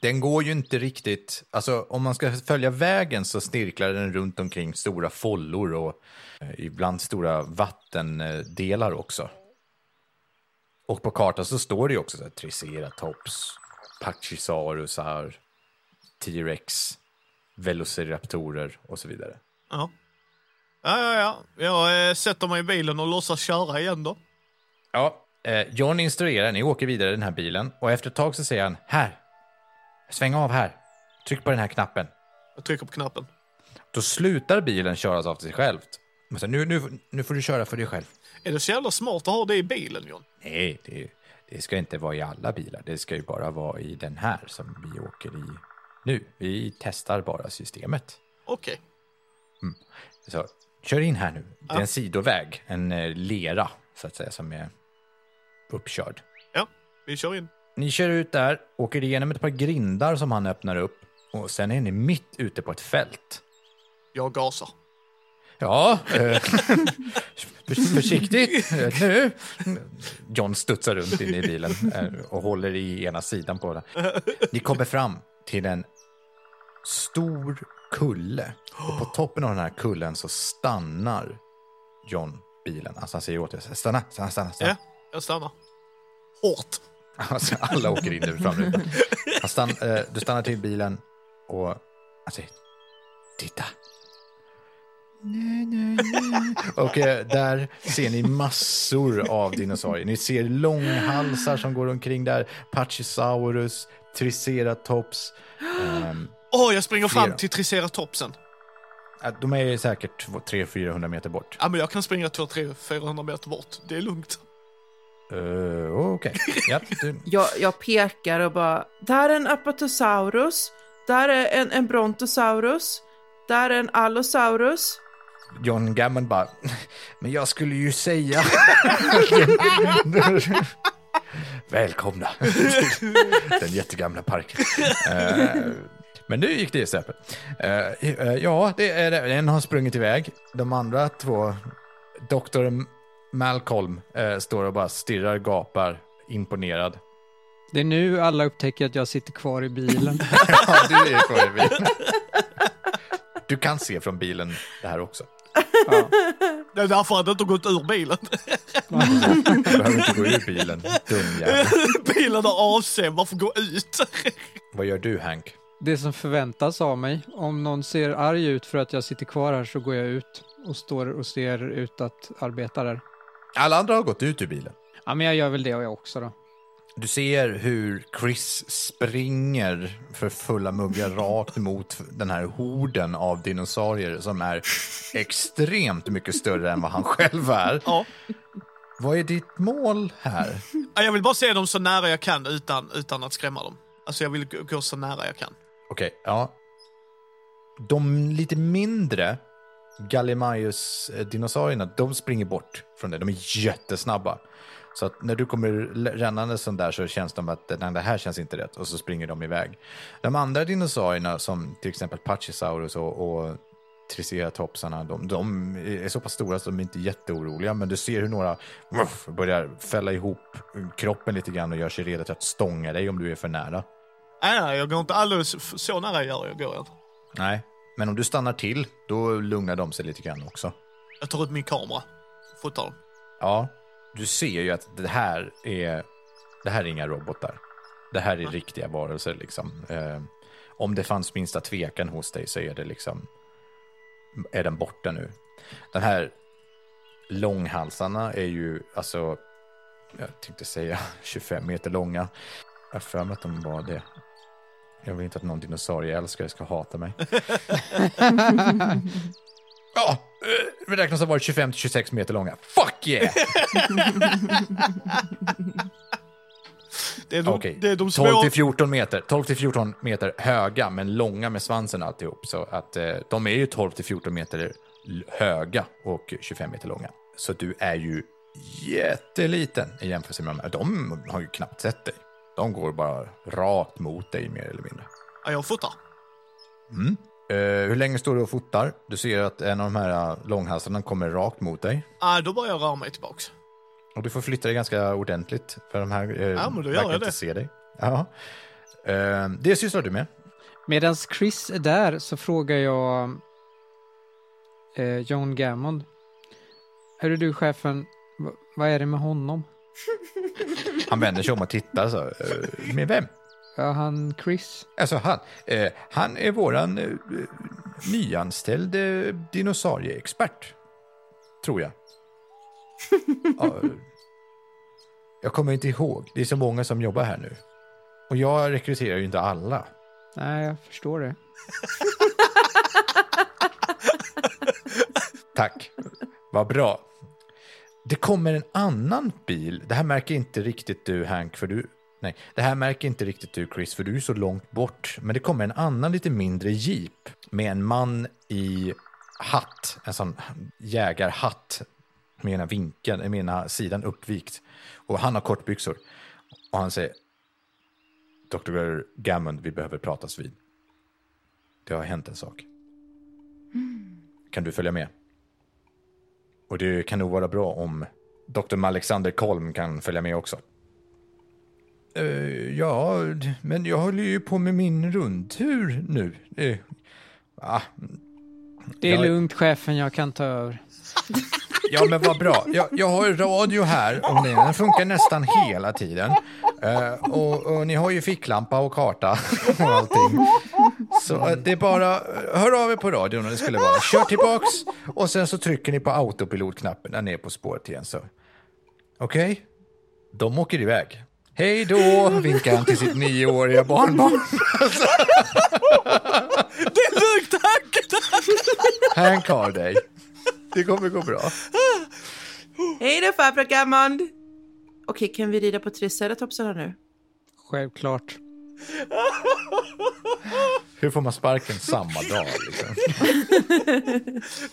[SPEAKER 1] Den går ju inte riktigt... Alltså, om man ska följa vägen så snirklar den runt omkring stora follor och eh, ibland stora vattendelar också. Och på kartan så står det ju också så här, Triceratops, Pachysaurusar, T-rex, Velociraptorer och så vidare.
[SPEAKER 4] Ja. Ja, ja, ja. Jag eh, sätter mig i bilen och låtsas köra igen då.
[SPEAKER 1] Ja, eh, John instruerar, ni åker vidare i den här bilen och efter ett tag så säger han här, sväng av här, tryck på den här knappen.
[SPEAKER 4] Jag trycker på knappen.
[SPEAKER 1] Då slutar bilen köras av sig självt. Men så, nu, nu, nu får du köra för dig själv.
[SPEAKER 4] Är det så jävla smart att ha det i bilen, John?
[SPEAKER 1] Nej, det, det ska inte vara i alla bilar. Det ska ju bara vara i den här som vi åker i nu. Vi testar bara systemet.
[SPEAKER 4] Okej.
[SPEAKER 1] Så kör in här nu. Det är en sidoväg, en eh, lera så att säga som är uppkörd.
[SPEAKER 4] Ja, vi kör in.
[SPEAKER 1] Ni kör ut där, åker igenom ett par grindar som han öppnar upp och sen är ni mitt ute på ett fält.
[SPEAKER 4] Jag gasar.
[SPEAKER 1] Ja, eh, [laughs] förs- försiktigt eh, nu. John studsar runt inne i bilen eh, och håller i ena sidan på den. Ni kommer fram till en stor kulle och på toppen av den här kullen så stannar John bilen. Alltså han säger åt er, stanna, stanna, stanna. stanna.
[SPEAKER 4] Ja, jag stannar. Hårt.
[SPEAKER 1] [laughs] Alltså, alla åker in i framrutan. Han stann, eh, du stannar till bilen och han säger titta. Nej, nej, nej. Och eh, där ser ni massor av dinosaurier. Ni ser långhalsar som går omkring där, Pachysaurus, Triceratops, ehm,
[SPEAKER 4] Åh, jag springer fram
[SPEAKER 1] Flera.
[SPEAKER 4] till triceratopsen.
[SPEAKER 1] Ja, Äh, De är säkert 300-400 meter bort.
[SPEAKER 4] Ja, men jag kan springa 200-400 meter bort. Det är lugnt.
[SPEAKER 1] Uh, Okej. Ja, du-
[SPEAKER 2] Jag, jag pekar och bara, där är en apatosaurus, där är en, en brontosaurus, där är en allosaurus.
[SPEAKER 1] John Gammon bara, [laughs] men jag skulle ju säga... [laughs] Välkomna till den jättegamla parken. Eh, Men nu gick det i släpet. Ja, det är det. En har sprungit iväg. De andra två, Dr. Malcolm, eh, står och bara stirrar, gapar, imponerad. [laughs]
[SPEAKER 3] Det är nu alla upptäcker att jag sitter kvar i bilen.
[SPEAKER 1] Ja, du är kvar i bilen. Du kan se från bilen det här också.
[SPEAKER 3] Ja.
[SPEAKER 4] Det är därför han inte har gått ur bilen. [laughs]
[SPEAKER 1] Du behöver inte gå ur bilen, dum jävel.
[SPEAKER 4] bilen har AC, varför gå ut? [laughs]
[SPEAKER 1] Vad gör du Hank?
[SPEAKER 3] Det som förväntas av mig, om någon ser arg ut för att jag sitter kvar här så går jag ut och står och ser ut att arbeta där.
[SPEAKER 1] Alla andra har gått ut ur bilen.
[SPEAKER 3] Ja, men jag gör väl det och jag också då.
[SPEAKER 1] Du ser hur Chris springer för fulla muggar rakt mot den här horden av dinosaurier som är extremt mycket större än vad han själv är.
[SPEAKER 4] Ja.
[SPEAKER 1] Vad är ditt mål här?
[SPEAKER 4] Ja, Jag vill bara se dem så nära jag kan utan, utan att skrämma dem. Alltså jag vill gå- gå så nära jag kan.
[SPEAKER 1] Okej, ja. De lite mindre Gallimimus-dinosaurierna, de springer bort från det. De är jättesnabba. Så att när du kommer l- rännande sån där så känns de att nej, det här känns inte rätt och så springer de iväg. De andra dinosaurierna som till exempel Pachysaurus och, och Triceratopsarna, de, de är så pass stora så de är inte jätteoroliga, men du ser hur några ruff, börjar fälla ihop kroppen lite grann och gör sig redo till att stånga dig om du är för nära.
[SPEAKER 4] Nej, nej, jag går inte alldeles f- så nära gör jag går jag. inte.
[SPEAKER 1] Nej, men om du stannar till, då lugnar de sig lite grann också.
[SPEAKER 4] Jag tar ut min kamera. Fotar dem.
[SPEAKER 1] Ja, du ser ju att det här är, det här är inga robotar. Det här är riktiga varelser liksom. Eh, om det fanns minsta tvekan hos dig så är det liksom, är den borta nu. Den här långhalsarna är ju, alltså, jag tänkte säga [laughs] 25 meter långa. Jag har för mig att de var det. Jag vill inte att någon dinosaurieälskare ska hata mig. Ja, eh, det räknas ha varit 25 till 26 meter långa. Fuck
[SPEAKER 4] [laughs]
[SPEAKER 1] yeah!
[SPEAKER 4] Det är de,
[SPEAKER 1] Okej,
[SPEAKER 4] det är
[SPEAKER 1] 12
[SPEAKER 4] de små...
[SPEAKER 1] till 14 meter. 12 till 14 meter höga, men långa med svansen alltihop. Så att eh, de är ju 12 till 14 meter l- höga och 25 meter långa. Så du är ju jätteliten i jämförelse med de här. De har ju knappt sett dig. De går bara rakt mot dig mer eller mindre.
[SPEAKER 4] Ja, jag fotar.
[SPEAKER 1] Eh, hur länge står du och fotar? Du ser att en av de här eh, långhalsarna kommer rakt mot dig.
[SPEAKER 4] Ja, då börjar jag röra mig tillbaks.
[SPEAKER 1] Och du får flytta dig ganska ordentligt, för de här eh,
[SPEAKER 4] men då gör
[SPEAKER 1] verkar
[SPEAKER 4] jag
[SPEAKER 1] inte
[SPEAKER 4] det.
[SPEAKER 1] se dig. Ja. Eh, det sysslar du med.
[SPEAKER 3] Medan Chris är där så frågar jag eh, John Gammond. Hörru du chefen, v- vad är det med honom?
[SPEAKER 1] Han vänder sig om och tittar. Så, eh, med vem?
[SPEAKER 3] Ja, han Chris.
[SPEAKER 1] Alltså han. Eh, han är våran eh, nyanställd eh, dinosaurieexpert. Tror jag. Ja, eh, jag kommer inte ihåg. Det är så många som jobbar här nu. Och jag rekryterar ju inte alla.
[SPEAKER 3] Nej, jag förstår det.
[SPEAKER 1] Tack. Vad bra. Det kommer en annan bil. Det här märker inte riktigt du Hank, för du... Nej, det här märker inte riktigt du Chris, för du är så långt bort. Men det kommer en annan lite mindre jeep med en man i hatt, en sån jägarhatt med ena vinkeln, med ena sidan uppvikt. Och han har kortbyxor. Och han säger Dr. Gammond, vi behöver pratas vid. Det har hänt en sak. Kan du följa med? Och det kan nog vara bra om Dr. Alexander Kolm kan följa med också. Eh, ja, d- men jag håller ju på med min rundtur nu. Eh, ah,
[SPEAKER 3] Det är
[SPEAKER 1] Jag-
[SPEAKER 3] lugnt chefen, jag kan ta över.
[SPEAKER 1] ja, men vad bra. Jag, jag har radio här och den den funkar nästan hela tiden. Eh, och, och ni har ju ficklampa och karta och allting. Så eh, det är bara, hör av er på radion om det skulle vara. Kör tillbaks och sen så trycker ni på autopilotknappen när ni är på spåret igen. så. Okej? De åker iväg. Hej då, vinkar han till sitt nioåriga barnbarn.
[SPEAKER 4] [laughs] Det är lugnt, tack!
[SPEAKER 1] Han kar dig. Det kommer gå bra.
[SPEAKER 2] Hej då farbror Gammond! Okej, kan vi rida på triceratopsarna nu?
[SPEAKER 3] Självklart.
[SPEAKER 1] Hur får man sparken samma dag? Liksom?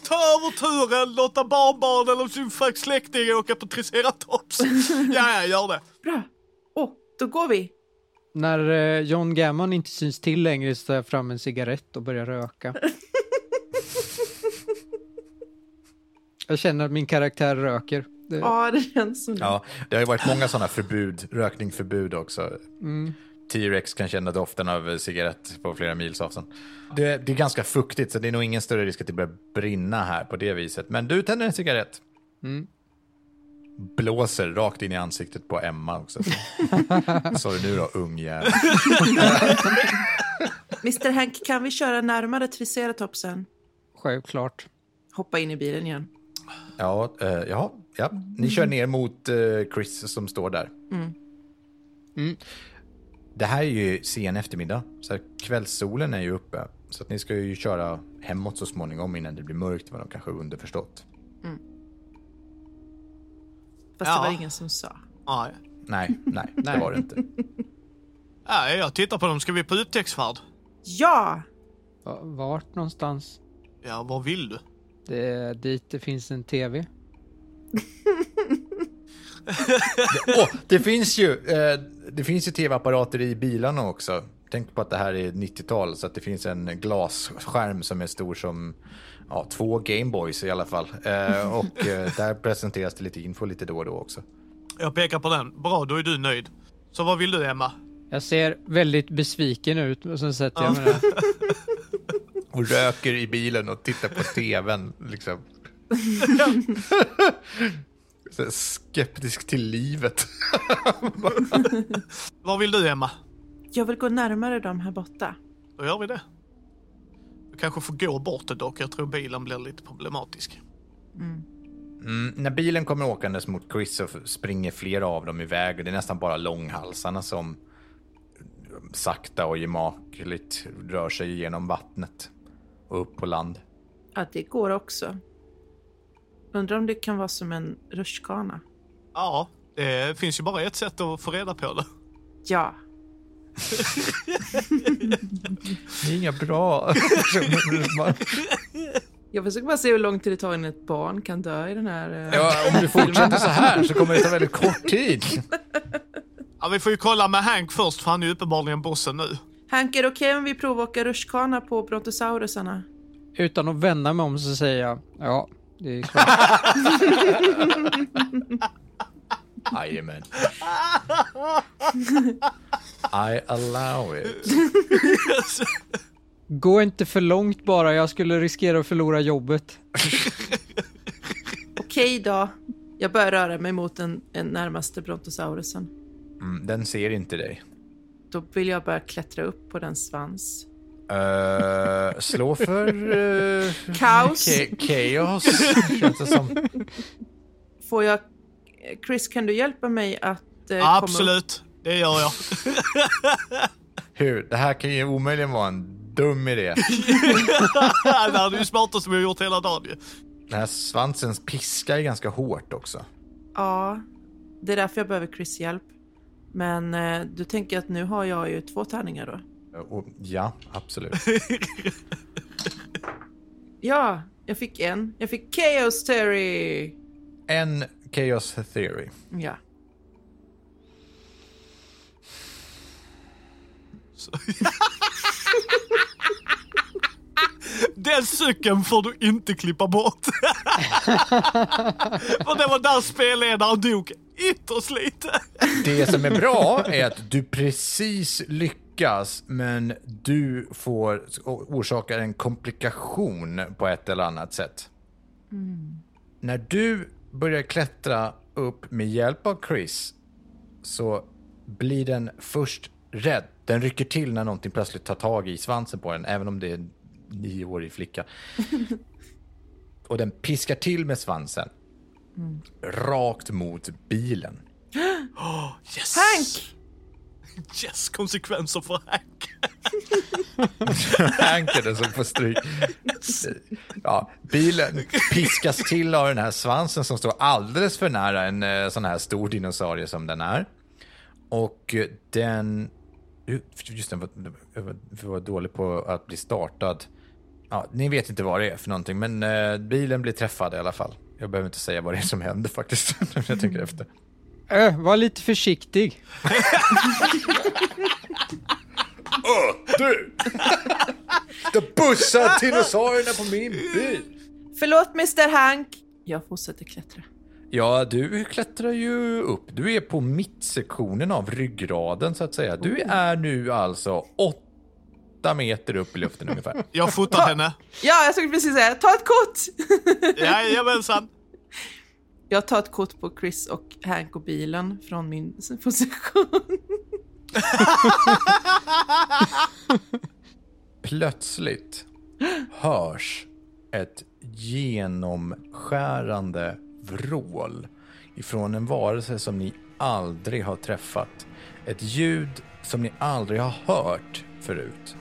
[SPEAKER 4] Ta över turen, låta barnbarn eller sin fuck släkting åka på triceratops. Ja, ja, gör det.
[SPEAKER 2] Bra! Åh, då går vi!
[SPEAKER 3] När eh, John Gammon inte syns till längre så tar jag fram en cigarett och börjar röka. jag känner att min karaktär röker. Det,
[SPEAKER 2] Ja, det känns som det.
[SPEAKER 1] [laughs] Ja, det har ju varit många sådana förbud, rökningförbud också. T-Rex kan känna doften av eh, cigarett på flera mils avstånd. Det, det är ganska fuktigt, så det är nog ingen större risk att det börjar brinna här på det viset. Men du tänder en cigarett. Blåser rakt in i ansiktet på Emma också. Sa du nu då, ungjävel?
[SPEAKER 2] Mr Hank, kan vi köra närmare triceratopsen?
[SPEAKER 3] Självklart.
[SPEAKER 2] Hoppa in i bilen igen.
[SPEAKER 1] Ja, eh, ja, ja. Ni kör ner mot eh, Chris som står där. Det här är ju sen eftermiddag, så här, kvällssolen är ju uppe. Så att ni ska ju köra hemåt så småningom innan det blir mörkt, var de kanske underförstått.
[SPEAKER 2] Fast
[SPEAKER 4] Ja.
[SPEAKER 2] det var ingen som sa.
[SPEAKER 4] Ja,
[SPEAKER 1] Nej, nej, det var det inte.
[SPEAKER 4] ja, jag tittar på dem. Ska vi på upptäcktsfärd?
[SPEAKER 2] Ja!
[SPEAKER 3] Va- Vart någonstans?
[SPEAKER 4] Ja, vad vill du?
[SPEAKER 3] Det är dit det finns en tv.
[SPEAKER 1] Åh, det finns ju, eh, det finns ju tv-apparater i bilarna också. Tänk på att det här är 90-tal, så att det finns en glasskärm som är stor som ja, två Gameboys i alla fall. Eh, och eh, där presenteras det lite info lite då och då också.
[SPEAKER 4] Jag pekar på den. Bra, då är du nöjd. Så vad vill du, Emma?
[SPEAKER 3] Jag ser väldigt besviken ut och sen sätter jag mig där.
[SPEAKER 1] Och röker i bilen och tittar på tvn. Liksom. Så här Skeptisk till livet.
[SPEAKER 4] Vad vill du, Emma?
[SPEAKER 2] Jag vill gå närmare dem här borta.
[SPEAKER 4] Då gör vi det. Du kanske får gå bort det dock. Jag tror bilen blir lite problematisk.
[SPEAKER 1] Mm, när bilen kommer åkandes mot Chris så springer flera av dem iväg och det är nästan bara långhalsarna som sakta och gemakligt rör sig genom vattnet och upp på land.
[SPEAKER 2] Ja, det går också. Undrar om det kan vara som en rutschkana.
[SPEAKER 4] Ja, det finns ju bara ett sätt att få reda på det.
[SPEAKER 2] Ja.
[SPEAKER 1] Det är inga [laughs] bra
[SPEAKER 2] Jag försöker bara se hur lång tid det tar innan ett barn kan dö i den här... eh,
[SPEAKER 1] ja, Om du fortsätter så här så kommer det ta väldigt kort tid.
[SPEAKER 4] Ja, vi får ju kolla med Hank först, för han är ju uppenbarligen bossen nu.
[SPEAKER 2] Hank, är det okej om vi provar att åka rutschkana på brontosaurusarna?
[SPEAKER 3] Utan att vända mig om så säger jag ja, det är klart.
[SPEAKER 1] Jajamän. I allow it.
[SPEAKER 3] Gå inte för långt bara, jag skulle riskera att förlora jobbet.
[SPEAKER 2] Okej då. Jag börjar röra mig mot den, den närmaste brontosaurusen.
[SPEAKER 1] Mm, den ser inte dig.
[SPEAKER 2] Då vill jag börja klättra upp på den svans.
[SPEAKER 1] Eh, slå för... eh,
[SPEAKER 2] Kaos.
[SPEAKER 1] ka- chaos, känns det som.
[SPEAKER 2] Får jag... Chris, kan du hjälpa mig att... eh, komma upp?
[SPEAKER 4] Absolut, det gör jag. [laughs]
[SPEAKER 1] Hur? Det här kan ju omöjligen vara en dum idé.
[SPEAKER 4] Ja, det här är ju smartaste vi har gjort hela dagen ju.
[SPEAKER 1] Den här svansen piskar ju ganska hårt också.
[SPEAKER 2] Ja, det är därför jag behöver Chris hjälp. Men eh, du tänker att nu har jag ju två tärningar då?
[SPEAKER 1] Och, ja, absolut.
[SPEAKER 2] Ja, jag fick en. Jag fick Chaos Terry!
[SPEAKER 1] En chaos theory.
[SPEAKER 2] Ja.
[SPEAKER 4] Så- Den cykeln får du inte klippa bort. [laughs] För det var där spelledaren dog ytterst lite.
[SPEAKER 1] Det som är bra är att du precis lyckas, men du får orsakar en komplikation på ett eller annat sätt. När du börjar klättra upp med hjälp av Chris så blir den först rädd. Den rycker till när någonting plötsligt tar tag i svansen på den, även om det är en nioårig flicka. Och den piskar till med svansen rakt mot bilen.
[SPEAKER 4] Yes.
[SPEAKER 2] Hank!
[SPEAKER 4] Yes, konsekvenser för hack.
[SPEAKER 1] Ankern som får stryk. Ja, bilen piskas till av den här svansen som står alldeles för nära en eh, sån här stor dinosaurie som den är. Och eh, den... Just det, jag var- jag var- jag var dålig på att bli startad. Ja, ni vet inte vad det är för någonting, men eh, bilen blir träffad i alla fall. Jag behöver inte säga vad det är som händer faktiskt, [laughs] när jag tänker efter.
[SPEAKER 3] Ö, Äh, var lite försiktig.
[SPEAKER 1] Du! Du bussar dinosaurierna på min bil!
[SPEAKER 2] Förlåt, Mr Hank. Jag fortsätter klättra.
[SPEAKER 1] Ja, du klättrar ju upp. Du är på mittsektionen av ryggraden så att säga. Du är nu alltså åtta meter upp i luften ungefär.
[SPEAKER 4] Jag fotar henne.
[SPEAKER 2] Ja, jag skulle precis säga, ta ett kort!
[SPEAKER 4] Jajamensan.
[SPEAKER 2] Jag tar ett kort på Chris och Hank och bilen från min [laughs] position.
[SPEAKER 1] Plötsligt hörs ett genomskärande vrål ifrån en varelse som ni aldrig har träffat. Ett ljud som ni aldrig har hört förut.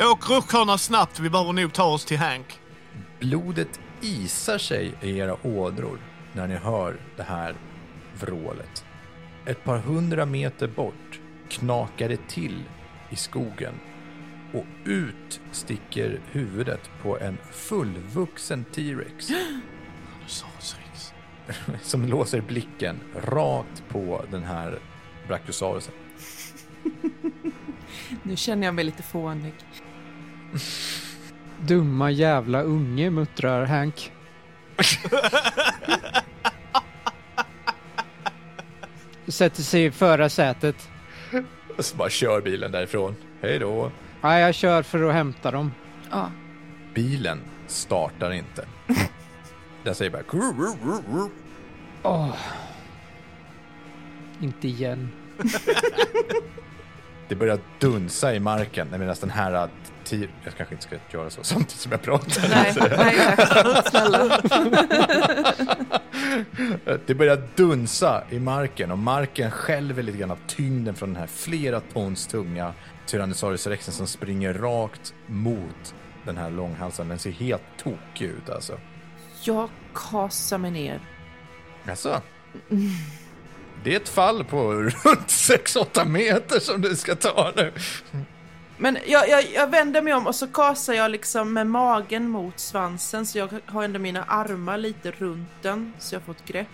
[SPEAKER 4] Åk rutschkana snabbt, vi behöver nog ta oss till Hank.
[SPEAKER 1] Blodet isar sig i era ådror när ni hör det här vrålet. Ett par hundra meter bort knakar det till i skogen och ut sticker huvudet på en fullvuxen T-rex
[SPEAKER 4] Dinosaurus-rex.
[SPEAKER 1] som låser blicken rakt på den här brachiosaurusen.
[SPEAKER 2] Nu känner jag mig lite fånig.
[SPEAKER 3] Dumma jävla unge, muttrar Hank. Sätter sig i förarsätet.
[SPEAKER 1] Och så bara kör bilen därifrån. Hej då!
[SPEAKER 3] Ja, jag kör för att hämta dem.
[SPEAKER 2] Ja.
[SPEAKER 1] Bilen startar inte. Den säger bara... "Kurr, kurr, kurr, kurr."
[SPEAKER 3] Åh. Inte igen.
[SPEAKER 1] Det börjar dunsa i marken medan den här att ti- Jag kanske inte ska göra så [laughs] samtidigt som jag pratar.
[SPEAKER 2] [laughs] [laughs] Nej, nej, tack. snälla.
[SPEAKER 1] Det börjar dunsa i marken och marken skälver lite grann av tyngden från den här flera tons tunga Tyrannosaurus rexen som springer rakt mot den här långhalsen. Den ser helt tokig ut alltså.
[SPEAKER 2] Jag kasar mig ner.
[SPEAKER 1] Alltså. Det är ett fall på runt [laughs] 6-8 meter som du ska ta nu.
[SPEAKER 2] Men jag, jag, jag vänder mig om och så kasar jag liksom med magen mot svansen så jag har ändå mina armar lite runt den så jag får ett grepp.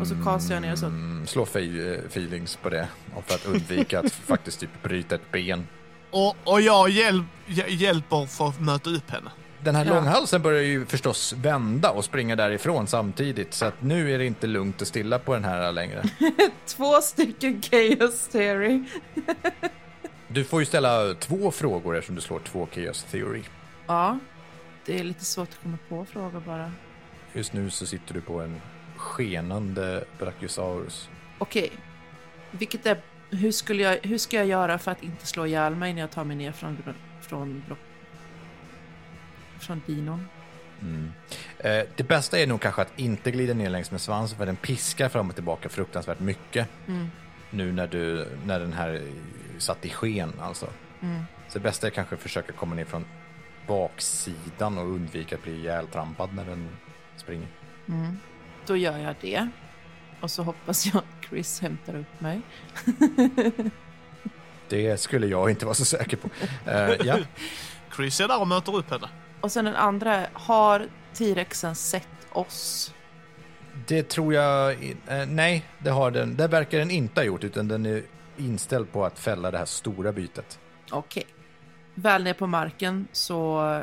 [SPEAKER 2] Och så kasar jag ner så.
[SPEAKER 1] Mm, slå fe- feelings på det och för att undvika att faktiskt typ bryta ett ben.
[SPEAKER 4] Och, och jag hjäl hj- hjälper för att möta upp henne.
[SPEAKER 1] Den här
[SPEAKER 2] Ja.
[SPEAKER 1] långhalsen börjar ju förstås vända och springa därifrån samtidigt så att nu är det inte lugnt och stilla på den här längre.
[SPEAKER 2] Två stycken Chaos Theory.
[SPEAKER 1] Du får ju ställa två frågor eftersom du slår två Chaos Theory.
[SPEAKER 2] Ja, det är lite svårt att komma på frågor bara.
[SPEAKER 1] Just nu så sitter du på en skenande Brachiosaurus.
[SPEAKER 2] Okej, vilket är... Hur, skulle jag, hur ska jag göra för att inte slå ihjäl mig när jag tar mig ner från... Från, från, från dinon?
[SPEAKER 1] Eh, det bästa är nog kanske att inte glida ner längs med svansen för den piskar fram och tillbaka fruktansvärt mycket.
[SPEAKER 2] Mm,
[SPEAKER 1] Nu när, du, när den här eh, satt i sken alltså.
[SPEAKER 2] mm,
[SPEAKER 1] Så det bästa är kanske att försöka komma ner från baksidan och undvika att bli ihjältrampad när den springer.
[SPEAKER 2] mm. Då gör jag det. Och så hoppas jag att Chris hämtar upp mig.
[SPEAKER 1] Det skulle jag inte vara så säker på. Eh, ja.
[SPEAKER 4] Chris är där och möter upp henne.
[SPEAKER 2] Och sen den andra är, har T-rexen sett oss?
[SPEAKER 1] Det tror jag... Eh, nej, det, har den, det verkar den inte ha gjort utan den är inställd på att fälla det här stora bytet.
[SPEAKER 2] Okej. Väl ner på marken så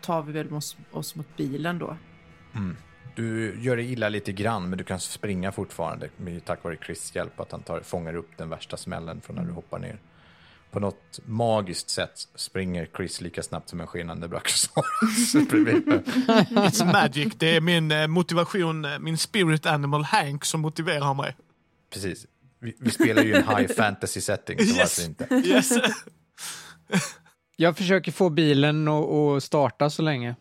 [SPEAKER 2] tar vi väl oss, oss mot bilen då.
[SPEAKER 1] Du gör det illa lite grann, men du kan springa fortfarande med, tack vare Chris hjälp att han tar, fångar upp den värsta smällen från när du hoppar ner. På något magiskt sätt springer Chris lika snabbt som en skenande brachiosaurus bredvid.
[SPEAKER 4] It's magic. Det är min eh, motivation, eh, min spirit animal Hank som motiverar mig.
[SPEAKER 1] Precis. Vi, vi spelar ju en high fantasy setting, så varför
[SPEAKER 4] Yes.
[SPEAKER 1] inte?
[SPEAKER 4] Yes.
[SPEAKER 3] Jag försöker få bilen att att starta så länge.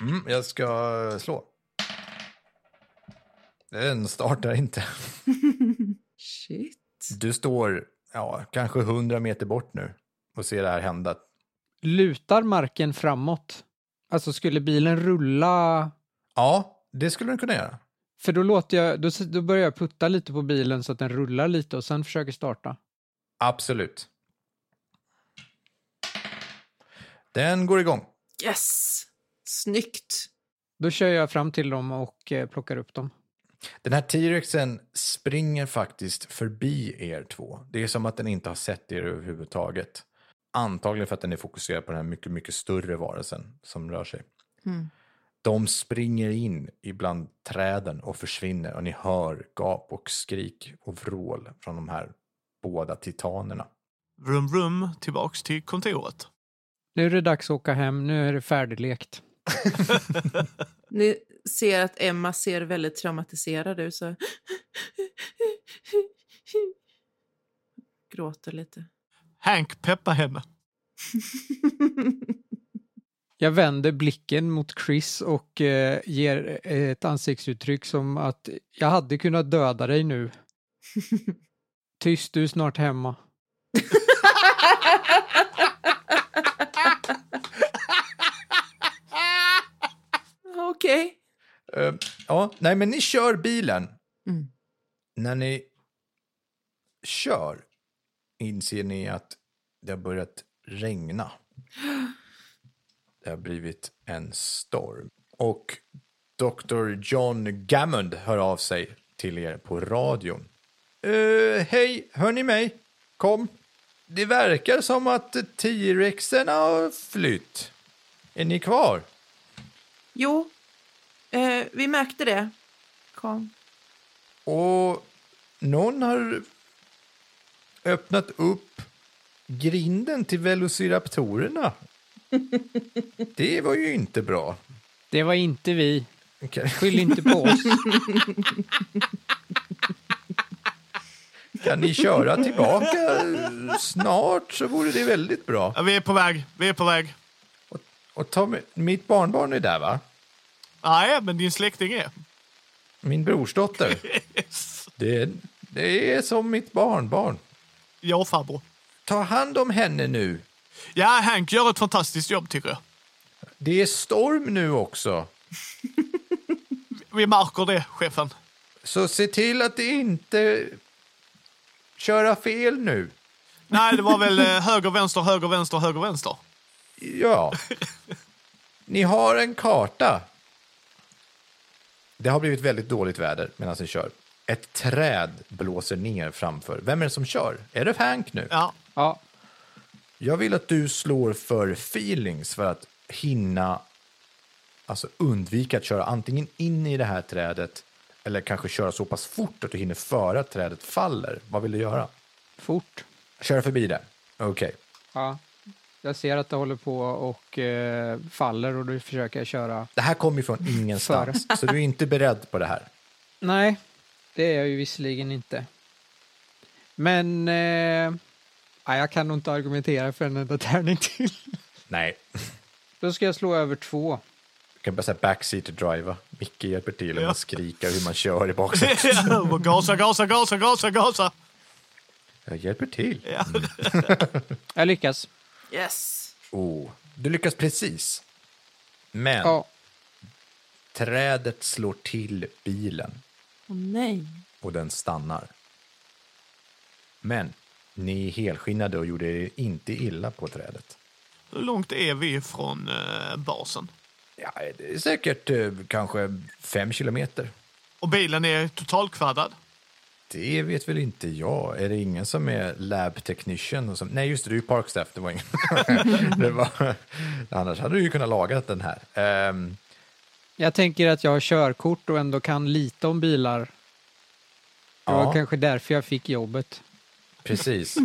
[SPEAKER 1] Mm, jag ska slå. Den startar inte.
[SPEAKER 2] Shit.
[SPEAKER 1] Du står ja, kanske 100 meter bort nu och ser det här hända.
[SPEAKER 3] Lutar marken framåt? Alltså skulle bilen rulla?
[SPEAKER 1] Ja, det skulle den kunna göra.
[SPEAKER 3] För då, låter jag, då, då börjar jag putta lite på bilen så att den rullar lite och sen försöker starta.
[SPEAKER 1] Absolut. Den går igång.
[SPEAKER 2] Yes! Snyggt!
[SPEAKER 3] Då kör jag fram till dem och eh, plockar upp dem.
[SPEAKER 1] Den här T-rexen springer faktiskt förbi er två. Det är som att den inte har sett er överhuvudtaget. Antagligen för att den är fokuserad på den här mycket, mycket större varelsen som rör sig.
[SPEAKER 2] Mm.
[SPEAKER 1] De springer in ibland träden och försvinner och ni hör gap och skrik och vrål från de här båda titanerna.
[SPEAKER 4] Vroom, vroom, tillbaks till kontoret.
[SPEAKER 3] Nu är det dags att åka hem, nu är det färdiglekt.
[SPEAKER 2] Ni ser att Emma ser väldigt traumatiserad ut. Så... [laughs] Gråter lite.
[SPEAKER 4] Hank peppar henne.
[SPEAKER 3] Jag vänder blicken mot Chris och eh, ger ett ansiktsuttryck som att jag hade kunnat döda dig [laughs] nu. Tyst, du är snart hemma.
[SPEAKER 2] [laughs] Okej.
[SPEAKER 1] Eh, ja, nej men ni kör bilen.
[SPEAKER 2] Mm.
[SPEAKER 1] När ni kör inser ni att det har börjat regna. Det har blivit en storm. Och Dr. John Gammond hör av sig till er på radion. Eh, Hej, hör ni mig? Kom. Det verkar som att T-rexen har flytt. Är ni kvar?
[SPEAKER 2] Jo, eh, vi märkte det. Kom.
[SPEAKER 1] Och någon har öppnat upp grinden till velociraptorerna. Det var ju inte bra.
[SPEAKER 3] Det var inte vi.
[SPEAKER 1] Kan-
[SPEAKER 3] Skyll inte på [laughs] oss.
[SPEAKER 1] Kan ni köra tillbaka snart så vore det väldigt bra.
[SPEAKER 4] Ja, vi är på väg, vi är på väg.
[SPEAKER 1] Och Tommy, mitt barnbarn är där va?
[SPEAKER 4] Nej, men din släkting är.
[SPEAKER 1] Min brorsdotter. Det, det är som mitt barnbarn.
[SPEAKER 4] Ja, farbror.
[SPEAKER 1] Ta hand om henne nu.
[SPEAKER 4] Ja, Hank gör ett fantastiskt jobb tycker jag.
[SPEAKER 1] Det är storm nu också.
[SPEAKER 4] Vi märker det, chefen.
[SPEAKER 1] Så se till att det inte köra fel nu.
[SPEAKER 4] Nej, det var väl eh, höger, vänster, höger, vänster, höger, vänster.
[SPEAKER 1] Ja. Ni har en karta. Det har blivit väldigt dåligt väder medan ni kör. Ett träd blåser ner framför. Vem är det som kör? Är det Hank nu?
[SPEAKER 4] Ja, [laughs]
[SPEAKER 3] Ja,
[SPEAKER 1] Jag vill att du slår för feelings för att hinna alltså undvika att köra antingen in i det här trädet eller kanske köra så pass fort att du hinner före att trädet faller. Vad vill du göra?
[SPEAKER 3] fort.
[SPEAKER 1] Köra förbi det? Okej.
[SPEAKER 3] Ja. Jag ser att det håller på och eh, faller och då försöker jag köra.
[SPEAKER 1] Det här kommer ju från ingenstans, så du är inte beredd på det här.
[SPEAKER 3] Nej, det är jag ju visserligen inte. Men eh, ja, jag kan nog inte argumentera för en enda tärning till.
[SPEAKER 1] Nej,
[SPEAKER 3] Då ska jag slå över två.
[SPEAKER 1] Du kan bara säga backseat driva. Micke hjälper till med
[SPEAKER 4] Ja.
[SPEAKER 1] att skrika hur man kör i
[SPEAKER 4] [laughs]
[SPEAKER 1] baksätet.
[SPEAKER 4] Och gasa, gasa, gasa, gasa, gasa.
[SPEAKER 1] Jag hjälper till.
[SPEAKER 4] Ja.
[SPEAKER 3] Jag lyckas.
[SPEAKER 2] Yes.
[SPEAKER 1] Oh, du lyckas precis. Men
[SPEAKER 3] Ja.
[SPEAKER 1] trädet slår till bilen
[SPEAKER 2] Åh nej.
[SPEAKER 1] och den stannar. Men ni är helskinnade och gjorde er inte illa på trädet.
[SPEAKER 4] Hur långt är vi från eh, basen?
[SPEAKER 1] Ja, det är säkert eh, kanske fem kilometer.
[SPEAKER 4] Och bilen är totalkvaddad.
[SPEAKER 1] Det vet väl inte jag. Är det ingen som är lab technician? Och som... Nej, just det, du är parkstaff. Det var ingen. [laughs] det var... Annars hade du ju kunnat laga den här. Ehm,
[SPEAKER 3] Jag tänker att jag har körkort och ändå kan lite om bilar. Det var
[SPEAKER 1] Ja.
[SPEAKER 3] kanske därför jag fick jobbet.
[SPEAKER 1] precis.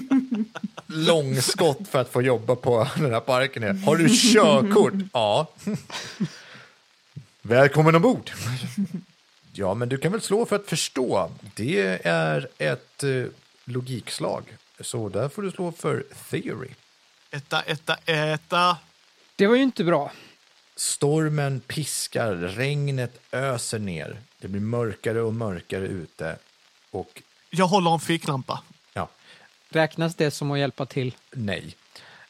[SPEAKER 1] Långskott för att få jobba på [laughs] den här parken. Här. Har du körkort? Ja. Välkommen ombord. Ja, men du kan väl slå för att förstå. Det är ett eh, logikslag. Så där får du slå för theory.
[SPEAKER 4] Etta, etta, etta.
[SPEAKER 3] Det var ju inte bra.
[SPEAKER 1] Stormen piskar, regnet öser ner. Det blir mörkare och mörkare ute. Och
[SPEAKER 4] Jag håller en ficklampa.
[SPEAKER 1] ja,
[SPEAKER 3] Räknas det som att hjälpa till?
[SPEAKER 1] Nej.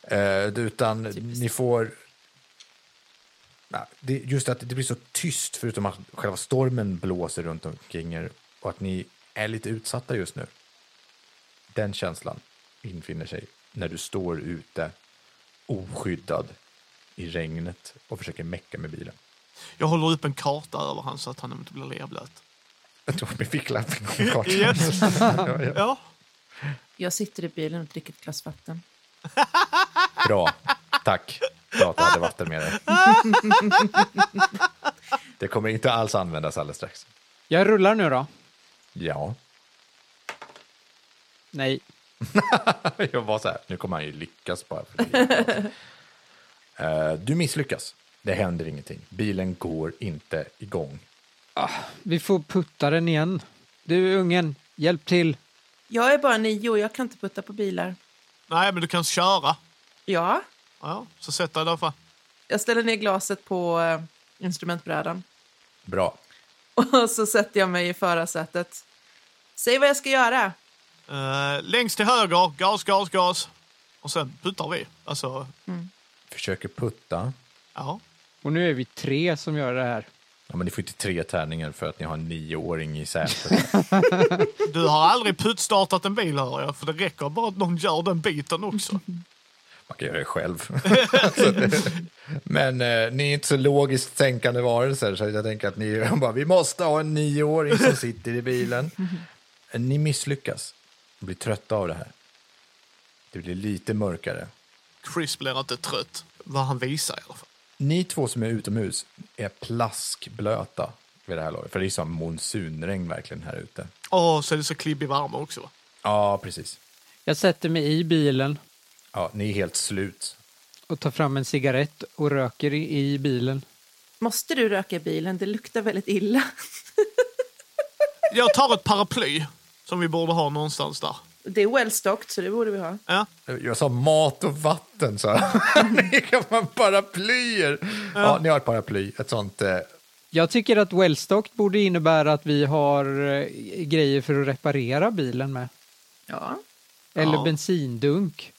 [SPEAKER 1] Eh, utan ni får... Nej, det, just att det blir så tyst, förutom att själva stormen blåser runt omkring er och att ni är lite utsatta just nu. Den känslan infinner sig när du står ute oskyddad i regnet och försöker mecka med bilen.
[SPEAKER 4] Jag håller upp en karta över han så att han inte blir lerblöt.
[SPEAKER 1] Jag tog min ficklapp. Klart.
[SPEAKER 4] Yes.
[SPEAKER 1] [laughs] Ja, ja.
[SPEAKER 4] Ja.
[SPEAKER 2] Jag sitter i bilen och dricker ett glas vatten.
[SPEAKER 1] Bra. Tack. Bra att du hade vatten med dig. Det kommer inte alls användas alldeles strax.
[SPEAKER 3] Jag rullar nu då.
[SPEAKER 1] Ja.
[SPEAKER 3] Nej.
[SPEAKER 1] Jag var så här, nu kommer han ju lyckas bara. För det. Eh, du misslyckas. Det händer ingenting. Bilen går inte igång.
[SPEAKER 3] Vi får putta den igen. Du ungen, hjälp till.
[SPEAKER 2] Jag är bara nio och jag kan inte putta på bilar.
[SPEAKER 4] Nej, men du kan köra.
[SPEAKER 2] Ja,
[SPEAKER 4] Ja, så sätt dig därför.
[SPEAKER 2] jag ställer ner glaset på eh, instrumentbrädan [laughs]
[SPEAKER 1] Bra.
[SPEAKER 2] och så sätter jag mig i förarsätet. Säg vad jag ska göra.
[SPEAKER 4] Uh, längst till höger, gas, gas, gas. Och sen puttar vi. Alltså,
[SPEAKER 1] Försöker putta.
[SPEAKER 4] ja.
[SPEAKER 3] Och nu är vi tre som gör det här.
[SPEAKER 1] Ja, men ni får inte tre tärningar för att ni har en nioåring i sätet.
[SPEAKER 4] Du har aldrig puttstartat en bil, hör jag. För det räcker bara att någon gör den biten också.
[SPEAKER 1] Man kan göra det själv. [laughs] Så det- men eh, ni är inte så logiskt tänkande varelser så jag tänker att ni [laughs] bara, vi måste ha en nioåring som sitter i bilen. Eh, Ni misslyckas. Ni blir trötta av det här. Det blir lite mörkare.
[SPEAKER 4] Chris blir inte trött. Vad han visar i alla fall.
[SPEAKER 1] Ni två som är utomhus är plaskblöta vid det här laget. För det är som monsunregn verkligen här ute.
[SPEAKER 4] Åh, så är det så klibbig värme också. Va?
[SPEAKER 1] Ja, precis.
[SPEAKER 3] Jag sätter mig i bilen
[SPEAKER 1] Ja, ni är helt slut.
[SPEAKER 3] och tar fram en cigarett och röker i, i bilen.
[SPEAKER 2] Måste du röka i bilen? Det luktar väldigt illa.
[SPEAKER 4] Jag tar ett paraply som vi borde ha någonstans där.
[SPEAKER 2] Det är well stocked, så det borde vi ha.
[SPEAKER 4] Ja.
[SPEAKER 1] Jag sa mat och vatten, så [laughs] Ni kan man paraplyer. Ja, ni har ett paraply. Ett sånt... Eh,
[SPEAKER 3] Jag tycker att Wellstock borde innebära att vi har eh, grejer för att reparera bilen med.
[SPEAKER 2] Ja.
[SPEAKER 3] Eller
[SPEAKER 4] Ja.
[SPEAKER 3] bensindunk.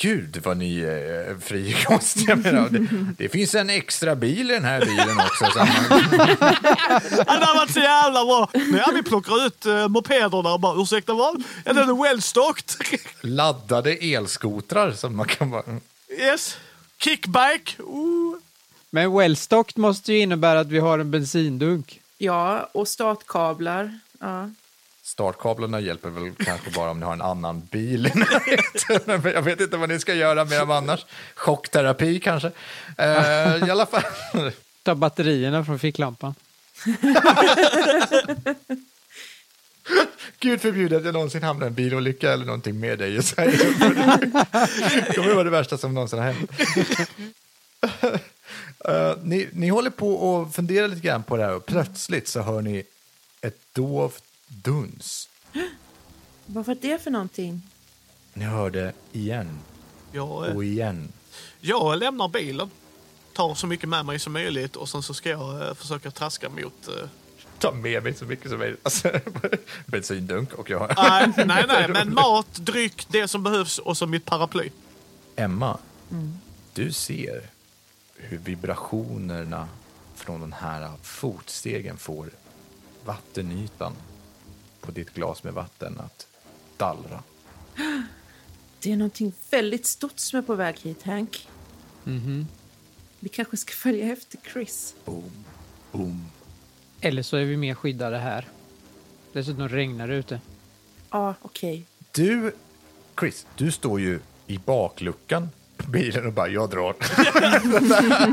[SPEAKER 1] gud vad ni är eh, frikostiga med det. här. det. Det finns en extra bil i den här bilen också. Så
[SPEAKER 4] Ja, Det har varit så jävla bra! Nu, Ja, vi plockar ut uh, mopederna och bara ursäkta vad? Ja, den är well stocked.
[SPEAKER 1] laddade elskotrar som man kan bara... Mm.
[SPEAKER 4] yes. Uh. Kickbike. Ooh.
[SPEAKER 3] Men Wellstock måste ju innebära att vi har en bensindunk.
[SPEAKER 2] Ja, och startkablar. Ja.
[SPEAKER 1] Startkablarna hjälper väl kanske bara om ni har en annan bil. i närheten. [laughs] Men jag vet inte vad ni ska göra med dem annars. Chockterapi kanske. Eh, I alla fall.
[SPEAKER 3] Ta batterierna från ficklampan.
[SPEAKER 1] Gud förbjude att jag någonsin hamnar i en bilolycka eller någonting med dig i Sverige. [laughs] Det kommer vara det värsta som någonsin har hänt. [laughs] Eh, ni, ni håller på och funderar lite grann på det här och plötsligt så hör ni ett dovt duns.
[SPEAKER 2] Vad var det för någonting?
[SPEAKER 1] Ni hör det igen
[SPEAKER 4] Jag, eh,
[SPEAKER 1] och igen.
[SPEAKER 4] jag lämnar bilen, tar så mycket med mig som möjligt och sen så ska jag eh, försöka traska mot... eh,
[SPEAKER 1] ta med mig så mycket som möjligt. Ah, Alltså, [laughs] bensindunk och jag.
[SPEAKER 4] Nej, nej, nej, men mat, dryck, det som behövs och så mitt paraply.
[SPEAKER 1] Emma, du ser hur vibrationerna från den här fotstegen får vattenytan på ditt glas med vatten att dallra.
[SPEAKER 2] Det är någonting väldigt stort som är på väg hit, Hank. Vi kanske ska följa efter Chris.
[SPEAKER 1] Boom, boom.
[SPEAKER 3] Eller så är vi mer skyddade här. Dessutom regnar det ute.
[SPEAKER 2] Ja, okej.
[SPEAKER 1] Du, Chris, du står ju i bakluckan på bilen och bara jag drar.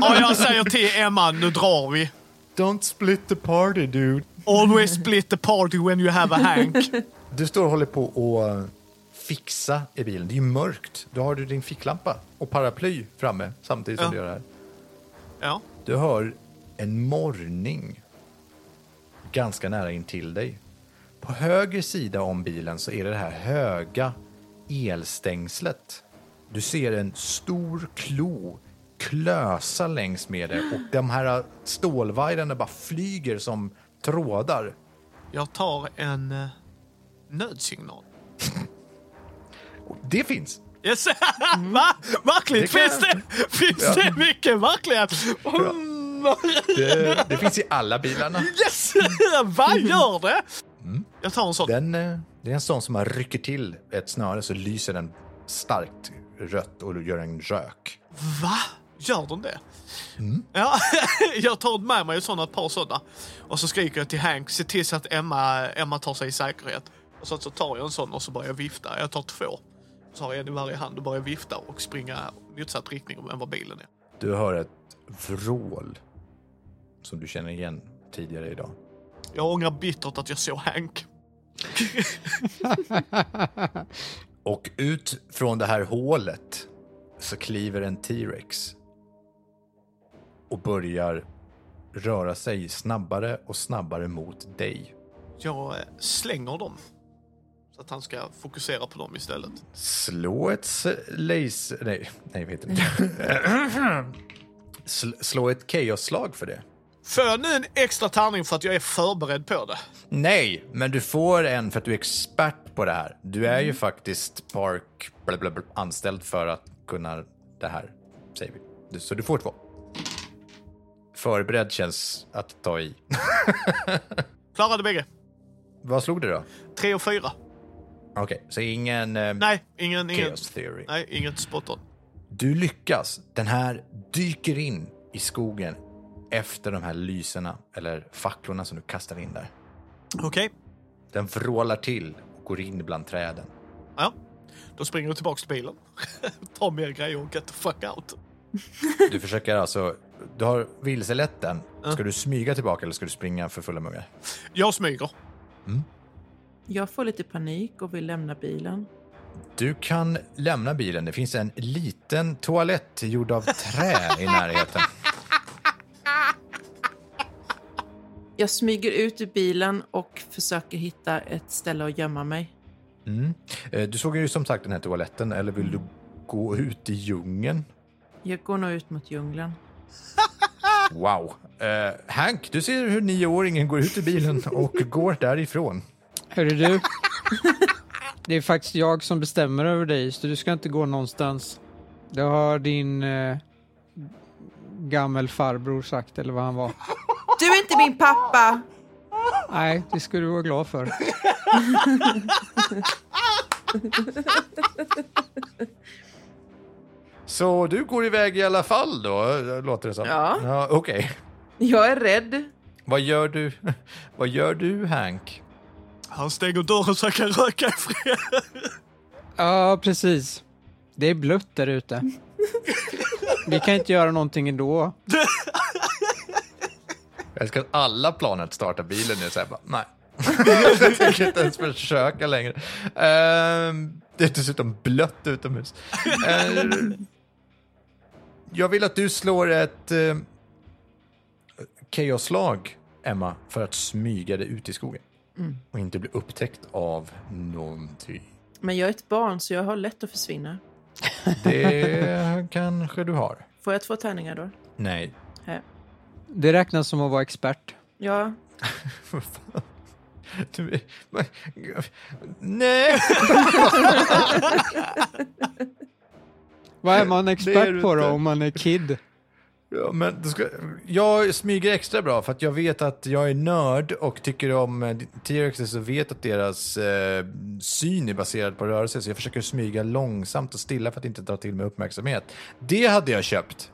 [SPEAKER 1] [laughs]
[SPEAKER 4] Ja, jag säger till Emma, nu drar vi.
[SPEAKER 1] Don't split the party dude.
[SPEAKER 4] Always split the party when you have a hank.
[SPEAKER 1] Du står och håller på och fixa i bilen. Det är ju mörkt. Då har du din ficklampa och paraply framme samtidigt som
[SPEAKER 4] Ja.
[SPEAKER 1] du gör det här.
[SPEAKER 4] Ja.
[SPEAKER 1] Du hör en morrning ganska nära in till dig. På höger sida om bilen så är det det här höga elstängslet. Du ser en stor klo klösa längs med det och de här stålvajrarna bara flyger som trådar.
[SPEAKER 4] Jag tar en eh, nödsignal.
[SPEAKER 1] Det finns.
[SPEAKER 4] Yes. [laughs] Va? Verkligt?
[SPEAKER 1] Mm. Det kan-
[SPEAKER 4] Finns det, finns det mycket verklighet? Mm. [laughs]
[SPEAKER 1] Det, det finns i alla bilarna.
[SPEAKER 4] Yes! [laughs] Vad gör det?
[SPEAKER 1] Mm.
[SPEAKER 4] Jag tar en sån.
[SPEAKER 1] Den, eh, det är en sån som man rycker till ett snöre så lyser den starkt rött och gör en rök.
[SPEAKER 4] Va? Gör de det? Ja, [laughs] jag tar med mig såna, ett par sådana. Och så skriker jag till Hank, se till så att Emma, Emma tar sig i säkerhet. Och så, så tar jag en sån och så börjar jag vifta. Jag tar två. Så har jag en i varje hand och börjar vifta och springa motsatt riktning än vad bilen är.
[SPEAKER 1] Du hör ett vrål som du känner igen tidigare idag.
[SPEAKER 4] Jag ångrar bittert att jag såg Hank.
[SPEAKER 1] Och ut från det här hålet så kliver en T-Rex och börjar röra sig snabbare och snabbare mot dig.
[SPEAKER 4] Jag eh, slänger dem. Så att han ska fokusera på dem istället.
[SPEAKER 1] Slå ett s- laser... Nej, nej, vet inte. Sl- slå ett chaos-slag för det.
[SPEAKER 4] Får jag nu en extra tärning för att jag är förberedd på det?
[SPEAKER 1] Nej, men du får en för att du är expert på det här. Du är
[SPEAKER 4] Mm.
[SPEAKER 1] ju faktiskt Park bla bla bla, anställd för att kunna det här, säger vi. Du- Så du får två. Förberedd känns att ta i. [laughs]
[SPEAKER 4] Klarade bägge.
[SPEAKER 1] Vad slog du då?
[SPEAKER 4] Tre och fyra.
[SPEAKER 1] Okej, så ingen eh,
[SPEAKER 4] Nej, ingen, ingen,
[SPEAKER 1] chaos theory.
[SPEAKER 4] nej, inget spot on.
[SPEAKER 1] Du lyckas. Den här dyker in i skogen efter de här lyserna, eller facklorna som du kastar in där.
[SPEAKER 4] Okej.
[SPEAKER 1] Den vrålar till och går in bland träden.
[SPEAKER 4] Ja. Då springer jag tillbaks till bilen. [laughs] Tar mer grejer och get the fuck out.
[SPEAKER 1] Du försöker alltså... Du har vilselett den. Ska du smyga tillbaka eller ska du springa för fulla mungar?
[SPEAKER 4] Jag smyger.
[SPEAKER 2] Jag får lite panik och vill lämna bilen.
[SPEAKER 1] Du kan lämna bilen. Det finns en liten toalett gjord av trä i närheten.
[SPEAKER 2] Jag smyger ut ur bilen och försöker hitta ett ställe att gömma mig.
[SPEAKER 1] Mm. Eh, Du såg ju som sagt den här toaletten, eller vill du gå ut i djungeln?
[SPEAKER 2] Jag går nog ut mot djungeln.
[SPEAKER 1] Wow. Eh, Hank, du ser hur nioåringen går ut ur bilen och går därifrån.
[SPEAKER 3] Hörru du. Det är faktiskt jag som bestämmer över dig, så du ska inte gå någonstans. Det har din eh, gammelfarbror sagt, eller vad han var.
[SPEAKER 2] Du är inte min pappa!
[SPEAKER 3] Nej, det skulle du vara glad för.
[SPEAKER 1] Så du går iväg i alla fall då, eh, låter det som.
[SPEAKER 2] Ja.
[SPEAKER 1] ja Okej.
[SPEAKER 2] Jag är rädd.
[SPEAKER 1] Vad gör du? [laughs] Vad gör du, Hank?
[SPEAKER 4] Han stänger dörren så jag kan röka i fred.
[SPEAKER 3] Ja, precis. Det är blött där ute. Vi kan inte göra någonting ändå.
[SPEAKER 1] Jag älskar att alla planer att starta bilen nu såhär bara, nej. jag tänker inte ens försöka längre. Ehm, det är dessutom blött utomhus. Ehm, jag vill att du slår ett uh, kaoslag, Emma, för att smyga dig ut i skogen. Och inte bli upptäckt av någonting.
[SPEAKER 2] Men jag är ett barn så jag har lätt att försvinna.
[SPEAKER 1] Det kanske du har.
[SPEAKER 2] Får jag två tärningar då? Eh,
[SPEAKER 1] Nej.
[SPEAKER 2] Här.
[SPEAKER 3] Det räknas som att vara expert.
[SPEAKER 2] Ja,
[SPEAKER 1] Vad fan? Du, är- vad- nej!
[SPEAKER 3] Vad är man
[SPEAKER 1] det är du
[SPEAKER 3] expert på då
[SPEAKER 1] inte.
[SPEAKER 3] om man är kid?
[SPEAKER 1] Ja, men då ska, jag smyger extra bra för att jag vet att jag är nörd och tycker om eh, T-Rexes och vet att deras eh, syn är baserad på rörelse så jag försöker smyga långsamt och stilla för att inte dra till mig uppmärksamhet. Det hade jag köpt.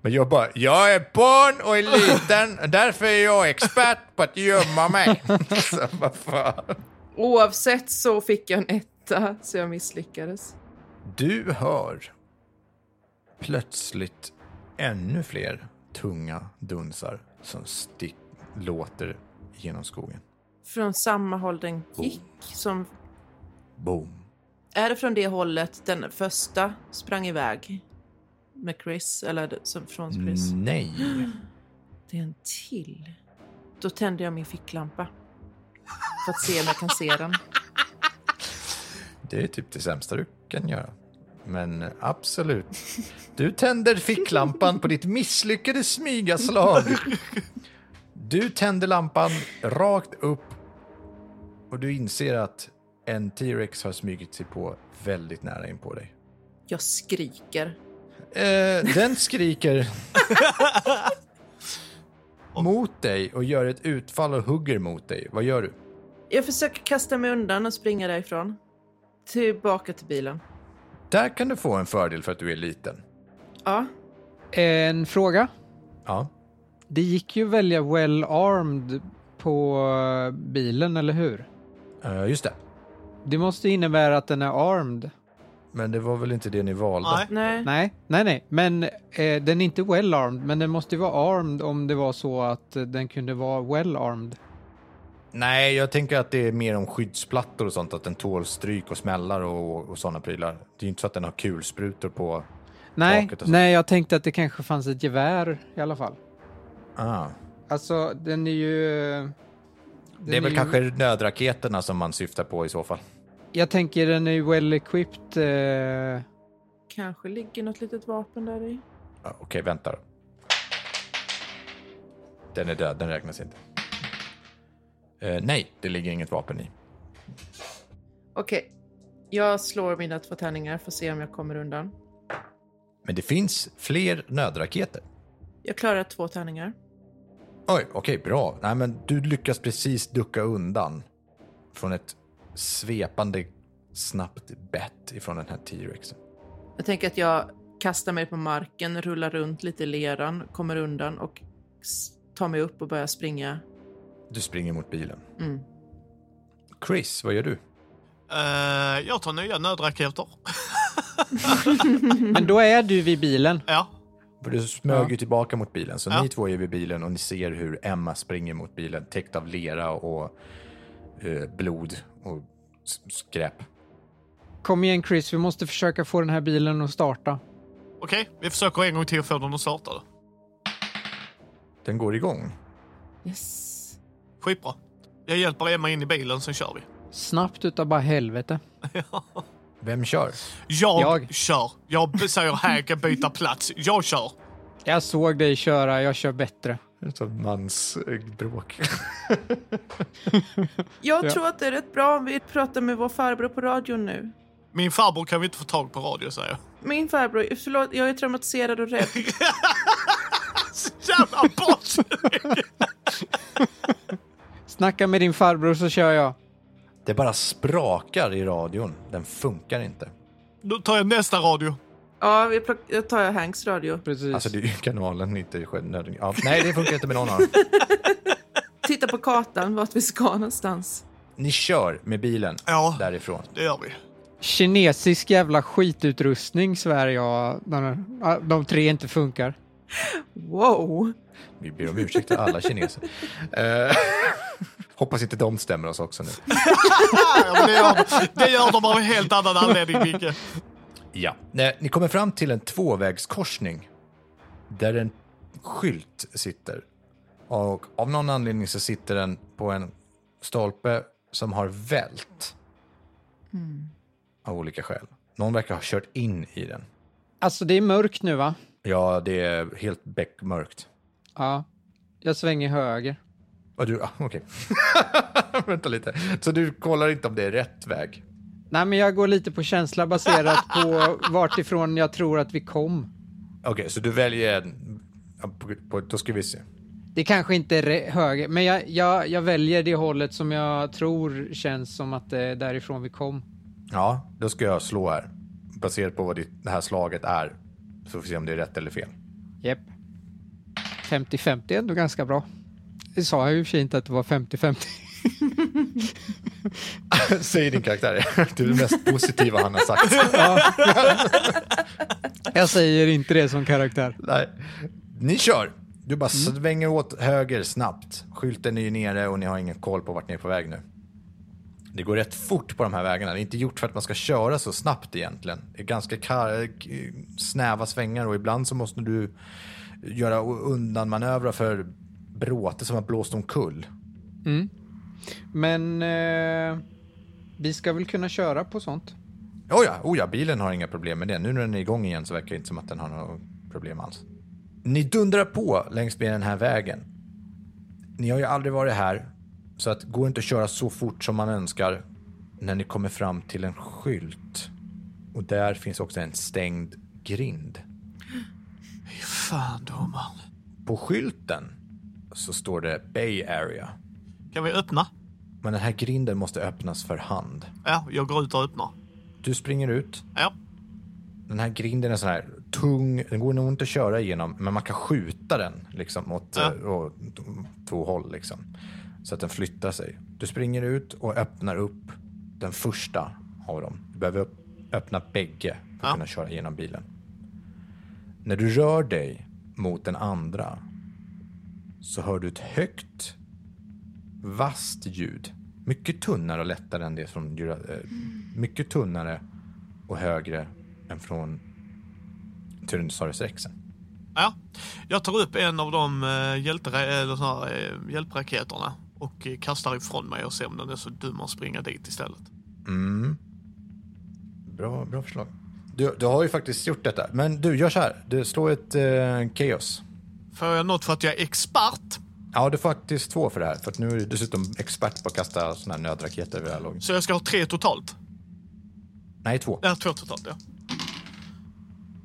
[SPEAKER 1] Men jag bara, jag är barn och är liten, därför är jag expert på att gömma mig. [laughs] så, vad fan.
[SPEAKER 2] oavsett så fick jag en etta så jag misslyckades.
[SPEAKER 1] Du hör plötsligt ännu fler tunga dunsar som stick låter genom skogen.
[SPEAKER 2] Från samma håll den gick som...
[SPEAKER 1] Boom.
[SPEAKER 2] Är det från det hållet den första sprang iväg? Med Chris? Eller det- som- från Chris?
[SPEAKER 1] Nej.
[SPEAKER 2] Det är en till. Då tänder jag min ficklampa. För att se om jag kan se den.
[SPEAKER 1] Det är typ det sämsta du kan göra. Men absolut. Du tänder ficklampan på ditt misslyckade smygaslag. Du tänder lampan rakt upp och du inser att En T-Rex har smugit sig på väldigt nära in på dig.
[SPEAKER 2] Jag skriker.
[SPEAKER 1] Eh, den skriker mot dig och gör ett utfall och hugger mot dig. Vad gör du?
[SPEAKER 2] Jag försöker kasta mig undan och springa därifrån. Tillbaka till bilen.
[SPEAKER 1] Där kan du få en fördel för att du är liten.
[SPEAKER 2] Ja,
[SPEAKER 3] En fråga.
[SPEAKER 1] Ja.
[SPEAKER 3] Det gick ju att välja well armed på eh, bilen, eller hur?
[SPEAKER 1] Eh, just det.
[SPEAKER 3] Det måste innebära att den är armed.
[SPEAKER 1] Men det var väl inte det ni valde?
[SPEAKER 4] [laughs]
[SPEAKER 2] nej.
[SPEAKER 4] Nej.
[SPEAKER 3] Nej, nej, nej, men eh, den är inte well armed, men den måste ju vara armed om det var så att eh, den kunde vara well armed.
[SPEAKER 1] Nej, jag tänker att det är mer om skyddsplattor och sånt. Att den tål stryk och smällar och, och sådana prylar. Det är ju inte så att den har kulsprutor på...
[SPEAKER 3] Nej,
[SPEAKER 1] Taket och så.
[SPEAKER 3] nej, jag tänkte att det kanske fanns ett gevär i alla fall.
[SPEAKER 1] Ah.
[SPEAKER 3] Alltså, den är ju... eh, den
[SPEAKER 1] Det är väl
[SPEAKER 3] ju,
[SPEAKER 1] kanske nödraketerna som man syftar på i så fall.
[SPEAKER 3] Jag tänker den är ju well equipped. Eh,
[SPEAKER 2] Kanske ligger något litet vapen där i.
[SPEAKER 1] Ja, Okej, vänta då. Den är död, den räknas inte. Eh, nej, det ligger inget vapen i.
[SPEAKER 2] Okej. Jag slår mina två tärningar för att se om jag kommer undan.
[SPEAKER 1] Men det finns fler nödraketer.
[SPEAKER 2] Jag klarar två tärningar.
[SPEAKER 1] Oj, okej, bra. Nej, men du lyckas precis ducka undan från ett svepande snabbt bett ifrån den här T-rexen.
[SPEAKER 2] Jag tänker att jag kastar mig på marken, rullar runt lite i leran, kommer undan och s- tar mig upp och börjar springa.
[SPEAKER 1] Du springer mot bilen.
[SPEAKER 2] Mm.
[SPEAKER 1] Chris, vad gör du?
[SPEAKER 4] Eh, jag tar nya nödraketer.
[SPEAKER 1] Mm.
[SPEAKER 3] Men då är du vid bilen.
[SPEAKER 4] ja.
[SPEAKER 1] För du smög
[SPEAKER 3] Ja.
[SPEAKER 1] ju tillbaka mot bilen, så
[SPEAKER 4] Ja.
[SPEAKER 1] ni två är vid bilen och ni ser hur Emma springer mot bilen täckt av lera och eh, blod och s- skräp.
[SPEAKER 3] Kom igen Chris, vi måste försöka få den här bilen att starta.
[SPEAKER 4] Okej, vi försöker en gång till få den att starta. då.
[SPEAKER 1] Den går igång.
[SPEAKER 2] Yes.
[SPEAKER 4] Skitbra. Jag hjälper Emma in i bilen, sen kör vi.
[SPEAKER 3] Snabbt utav bara helvete.
[SPEAKER 1] Vem kör?
[SPEAKER 4] Jag,
[SPEAKER 3] Jag.
[SPEAKER 4] kör. Jag b- säger här kan byta plats. Jag kör.
[SPEAKER 3] Jag såg dig köra, jag kör bättre.
[SPEAKER 1] Utan mans bråk.
[SPEAKER 2] Jag
[SPEAKER 3] Ja.
[SPEAKER 2] tror att det är rätt bra om vi pratar med vår farbror på radion nu.
[SPEAKER 4] Min farbror kan vi inte få tag på radio, säger jag.
[SPEAKER 2] Min farbror, förlåt, jag är traumatiserad och rädd.
[SPEAKER 4] Så Jävla [laughs] boss!
[SPEAKER 3] Snacka med din farbror så kör jag.
[SPEAKER 1] [laughs] Det bara sprakar i radion. Den funkar inte.
[SPEAKER 4] Då tar jag nästa radio.
[SPEAKER 2] Ja, vi plock- jag tar Hanks radio.
[SPEAKER 3] Precis.
[SPEAKER 1] Alltså det är ju kanalen, inte själv- ja, Nej, det funkar inte med
[SPEAKER 4] [laughs]
[SPEAKER 1] någon av dem.
[SPEAKER 2] Titta på kartan, vart vi ska någonstans.
[SPEAKER 1] Ni kör med bilen
[SPEAKER 4] Ja.
[SPEAKER 1] därifrån.
[SPEAKER 4] Det gör vi.
[SPEAKER 3] Kinesisk jävla skitutrustning svär jag. när- ah, De tre inte funkar.
[SPEAKER 2] Wow!
[SPEAKER 1] Vi ber om ursäkt till alla kineser.
[SPEAKER 4] [laughs]
[SPEAKER 1] Eh, [laughs] hoppas inte de stämmer oss också nu.
[SPEAKER 4] Ja, men det, gör, det gör de av en helt annan anledning, Micke.
[SPEAKER 1] Ja. Nej, Ni kommer fram till en tvåvägskorsning där en skylt sitter. Och av någon anledning så sitter den på en stolpe som har vält. Av olika skäl. Någon verkar ha kört in i den.
[SPEAKER 3] Alltså det är mörkt nu va?
[SPEAKER 1] Ja, det är helt beckmörkt.
[SPEAKER 3] Ja. Jag svänger höger.
[SPEAKER 1] Och du, ah, okej. [laughs] Vänta lite. Så du kollar inte om det är rätt väg?
[SPEAKER 3] Nej men jag går lite på känsla baserat på vart ifrån jag tror att vi kom.
[SPEAKER 1] Okej, så du väljer en... ja, På, på, då ska vi se.
[SPEAKER 3] Det kanske inte är re- höger, men jag, jag, jag väljer det hållet som jag tror känns som att det är därifrån vi kom.
[SPEAKER 1] Ja, då ska jag slå här. Baserat på vad ditt, det här slaget är. Så får vi se om det är rätt eller [laughs] fel.
[SPEAKER 3] Japp. 50-50 är ändå ganska bra. Det sa jag ju i och för sig inte att det var 50-50.
[SPEAKER 1] Säger din karaktär. Du är [laughs] det mest positiva han har sagt. [laughs]
[SPEAKER 3] Jag säger inte det som karaktär.
[SPEAKER 1] Nej. Ni kör. Du bara svänger åt höger snabbt. Skylten är ju nere och ni har ingen koll på vart ni är på väg nu. Det går rätt fort på de här vägarna. Det är inte gjort för att man ska köra så snabbt egentligen. Det är ganska kar- k- snäva svängar och ibland så måste du göra undanmanövrar för bråte som har blåst omkull.
[SPEAKER 3] Men eh, vi ska väl kunna köra på sånt?
[SPEAKER 1] Oh ja, oh ja, bilen har inga problem med det. Nu när den är igång igen så verkar det inte som att den har några problem alls. Ni dundrar på längs med den här vägen. Ni har ju aldrig varit här, så att går inte att köra så fort som man önskar. när ni kommer fram till en skylt. Och där finns också en stängd grind.
[SPEAKER 4] Fy fan, domaren.
[SPEAKER 1] På skylten så står det Bay Area.
[SPEAKER 4] Kan vi öppna?
[SPEAKER 1] Men den här grinden måste öppnas för hand.
[SPEAKER 4] Ja, jag går ut och öppnar.
[SPEAKER 1] Du springer ut.
[SPEAKER 4] Ja,
[SPEAKER 1] Den här grinden är sån här tung. Den går nog inte att köra igenom, men man kan skjuta den liksom åt,
[SPEAKER 4] Ja.
[SPEAKER 1] eh, åt två håll liksom. Så att den flyttar sig. Du springer ut och öppnar upp den första av dem. Du behöver upp, öppna bägge för att
[SPEAKER 4] Ja.
[SPEAKER 1] kunna köra igenom bilen. När du rör dig mot den andra så hör du ett högt, vasst ljud. Mycket tunnare och lättare än det från... Jura- eh, Mycket tunnare och högre än från Tyrannosaurus rexen.
[SPEAKER 4] ja. Jag tar upp en av de eh, hjältere, eller såna här, eh, hjälpraketerna och eh, kastar ifrån mig och ser om den är så dum att springa dit istället.
[SPEAKER 1] Bra, bra förslag. Du, du har ju faktiskt gjort detta. Men du, gör så här. Du slår ett eh, chaos.
[SPEAKER 4] Får jag något för att jag är expert?
[SPEAKER 1] Ja, du får faktiskt två för det här. För att nu är du dessutom expert på att kasta såna här nödraketer över dialog.
[SPEAKER 4] Så jag ska ha tre totalt?
[SPEAKER 1] Nej, två.
[SPEAKER 4] Ja, två totalt, ja.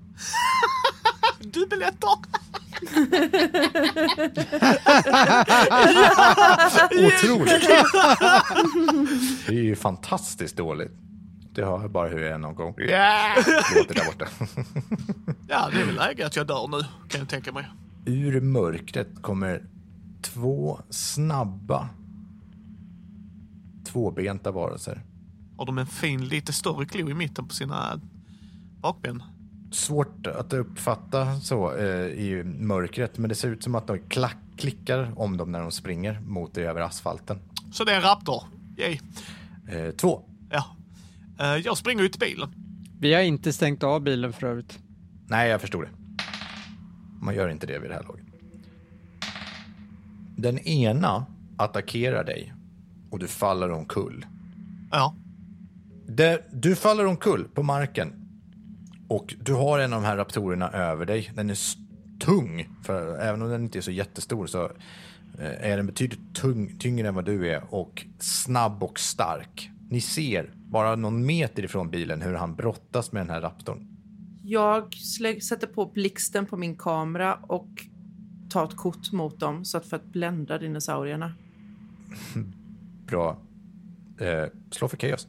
[SPEAKER 4] [laughs] Dubbeletter!
[SPEAKER 1] Otroligt! det är ju fantastiskt dåligt. Det hör jag bara hur jag är någon gång. Yeah! Låter där borta.
[SPEAKER 4] Ja, det är väl läge att jag dör nu, kan jag tänka mig.
[SPEAKER 1] Ur mörkret kommer två snabba tvåbenta varelser.
[SPEAKER 4] Har de en fin, lite större klo i mitten på sina bakben?
[SPEAKER 1] svårt att uppfatta så eh, i mörkret, men det ser ut som att de klack, klickar om dem när de springer mot dig över asfalten.
[SPEAKER 4] Så det är en raptor. Yay.
[SPEAKER 1] Eh, två.
[SPEAKER 4] Ja. Eh, Jag springer ut i bilen.
[SPEAKER 3] Vi har inte stängt av bilen för övrigt.
[SPEAKER 1] Nej, jag förstod det. Man gör inte det vid det här laget. Den ena attackerar dig och du faller omkull.
[SPEAKER 4] Ja.
[SPEAKER 1] Det, du faller omkull på marken och du har en av de här raptorerna över dig. Den är s- tung, för även om den inte är så jättestor så eh, är den betydligt tung, tyngre än vad du är och snabb och stark. Ni ser, bara någon meter ifrån bilen, hur han brottas med den här raptorn.
[SPEAKER 2] Jag slä- sätter på blixten på min kamera och tar ett kort mot dem så att för att blända dinosaurierna.
[SPEAKER 1] Bra. Eh, slå för chaos.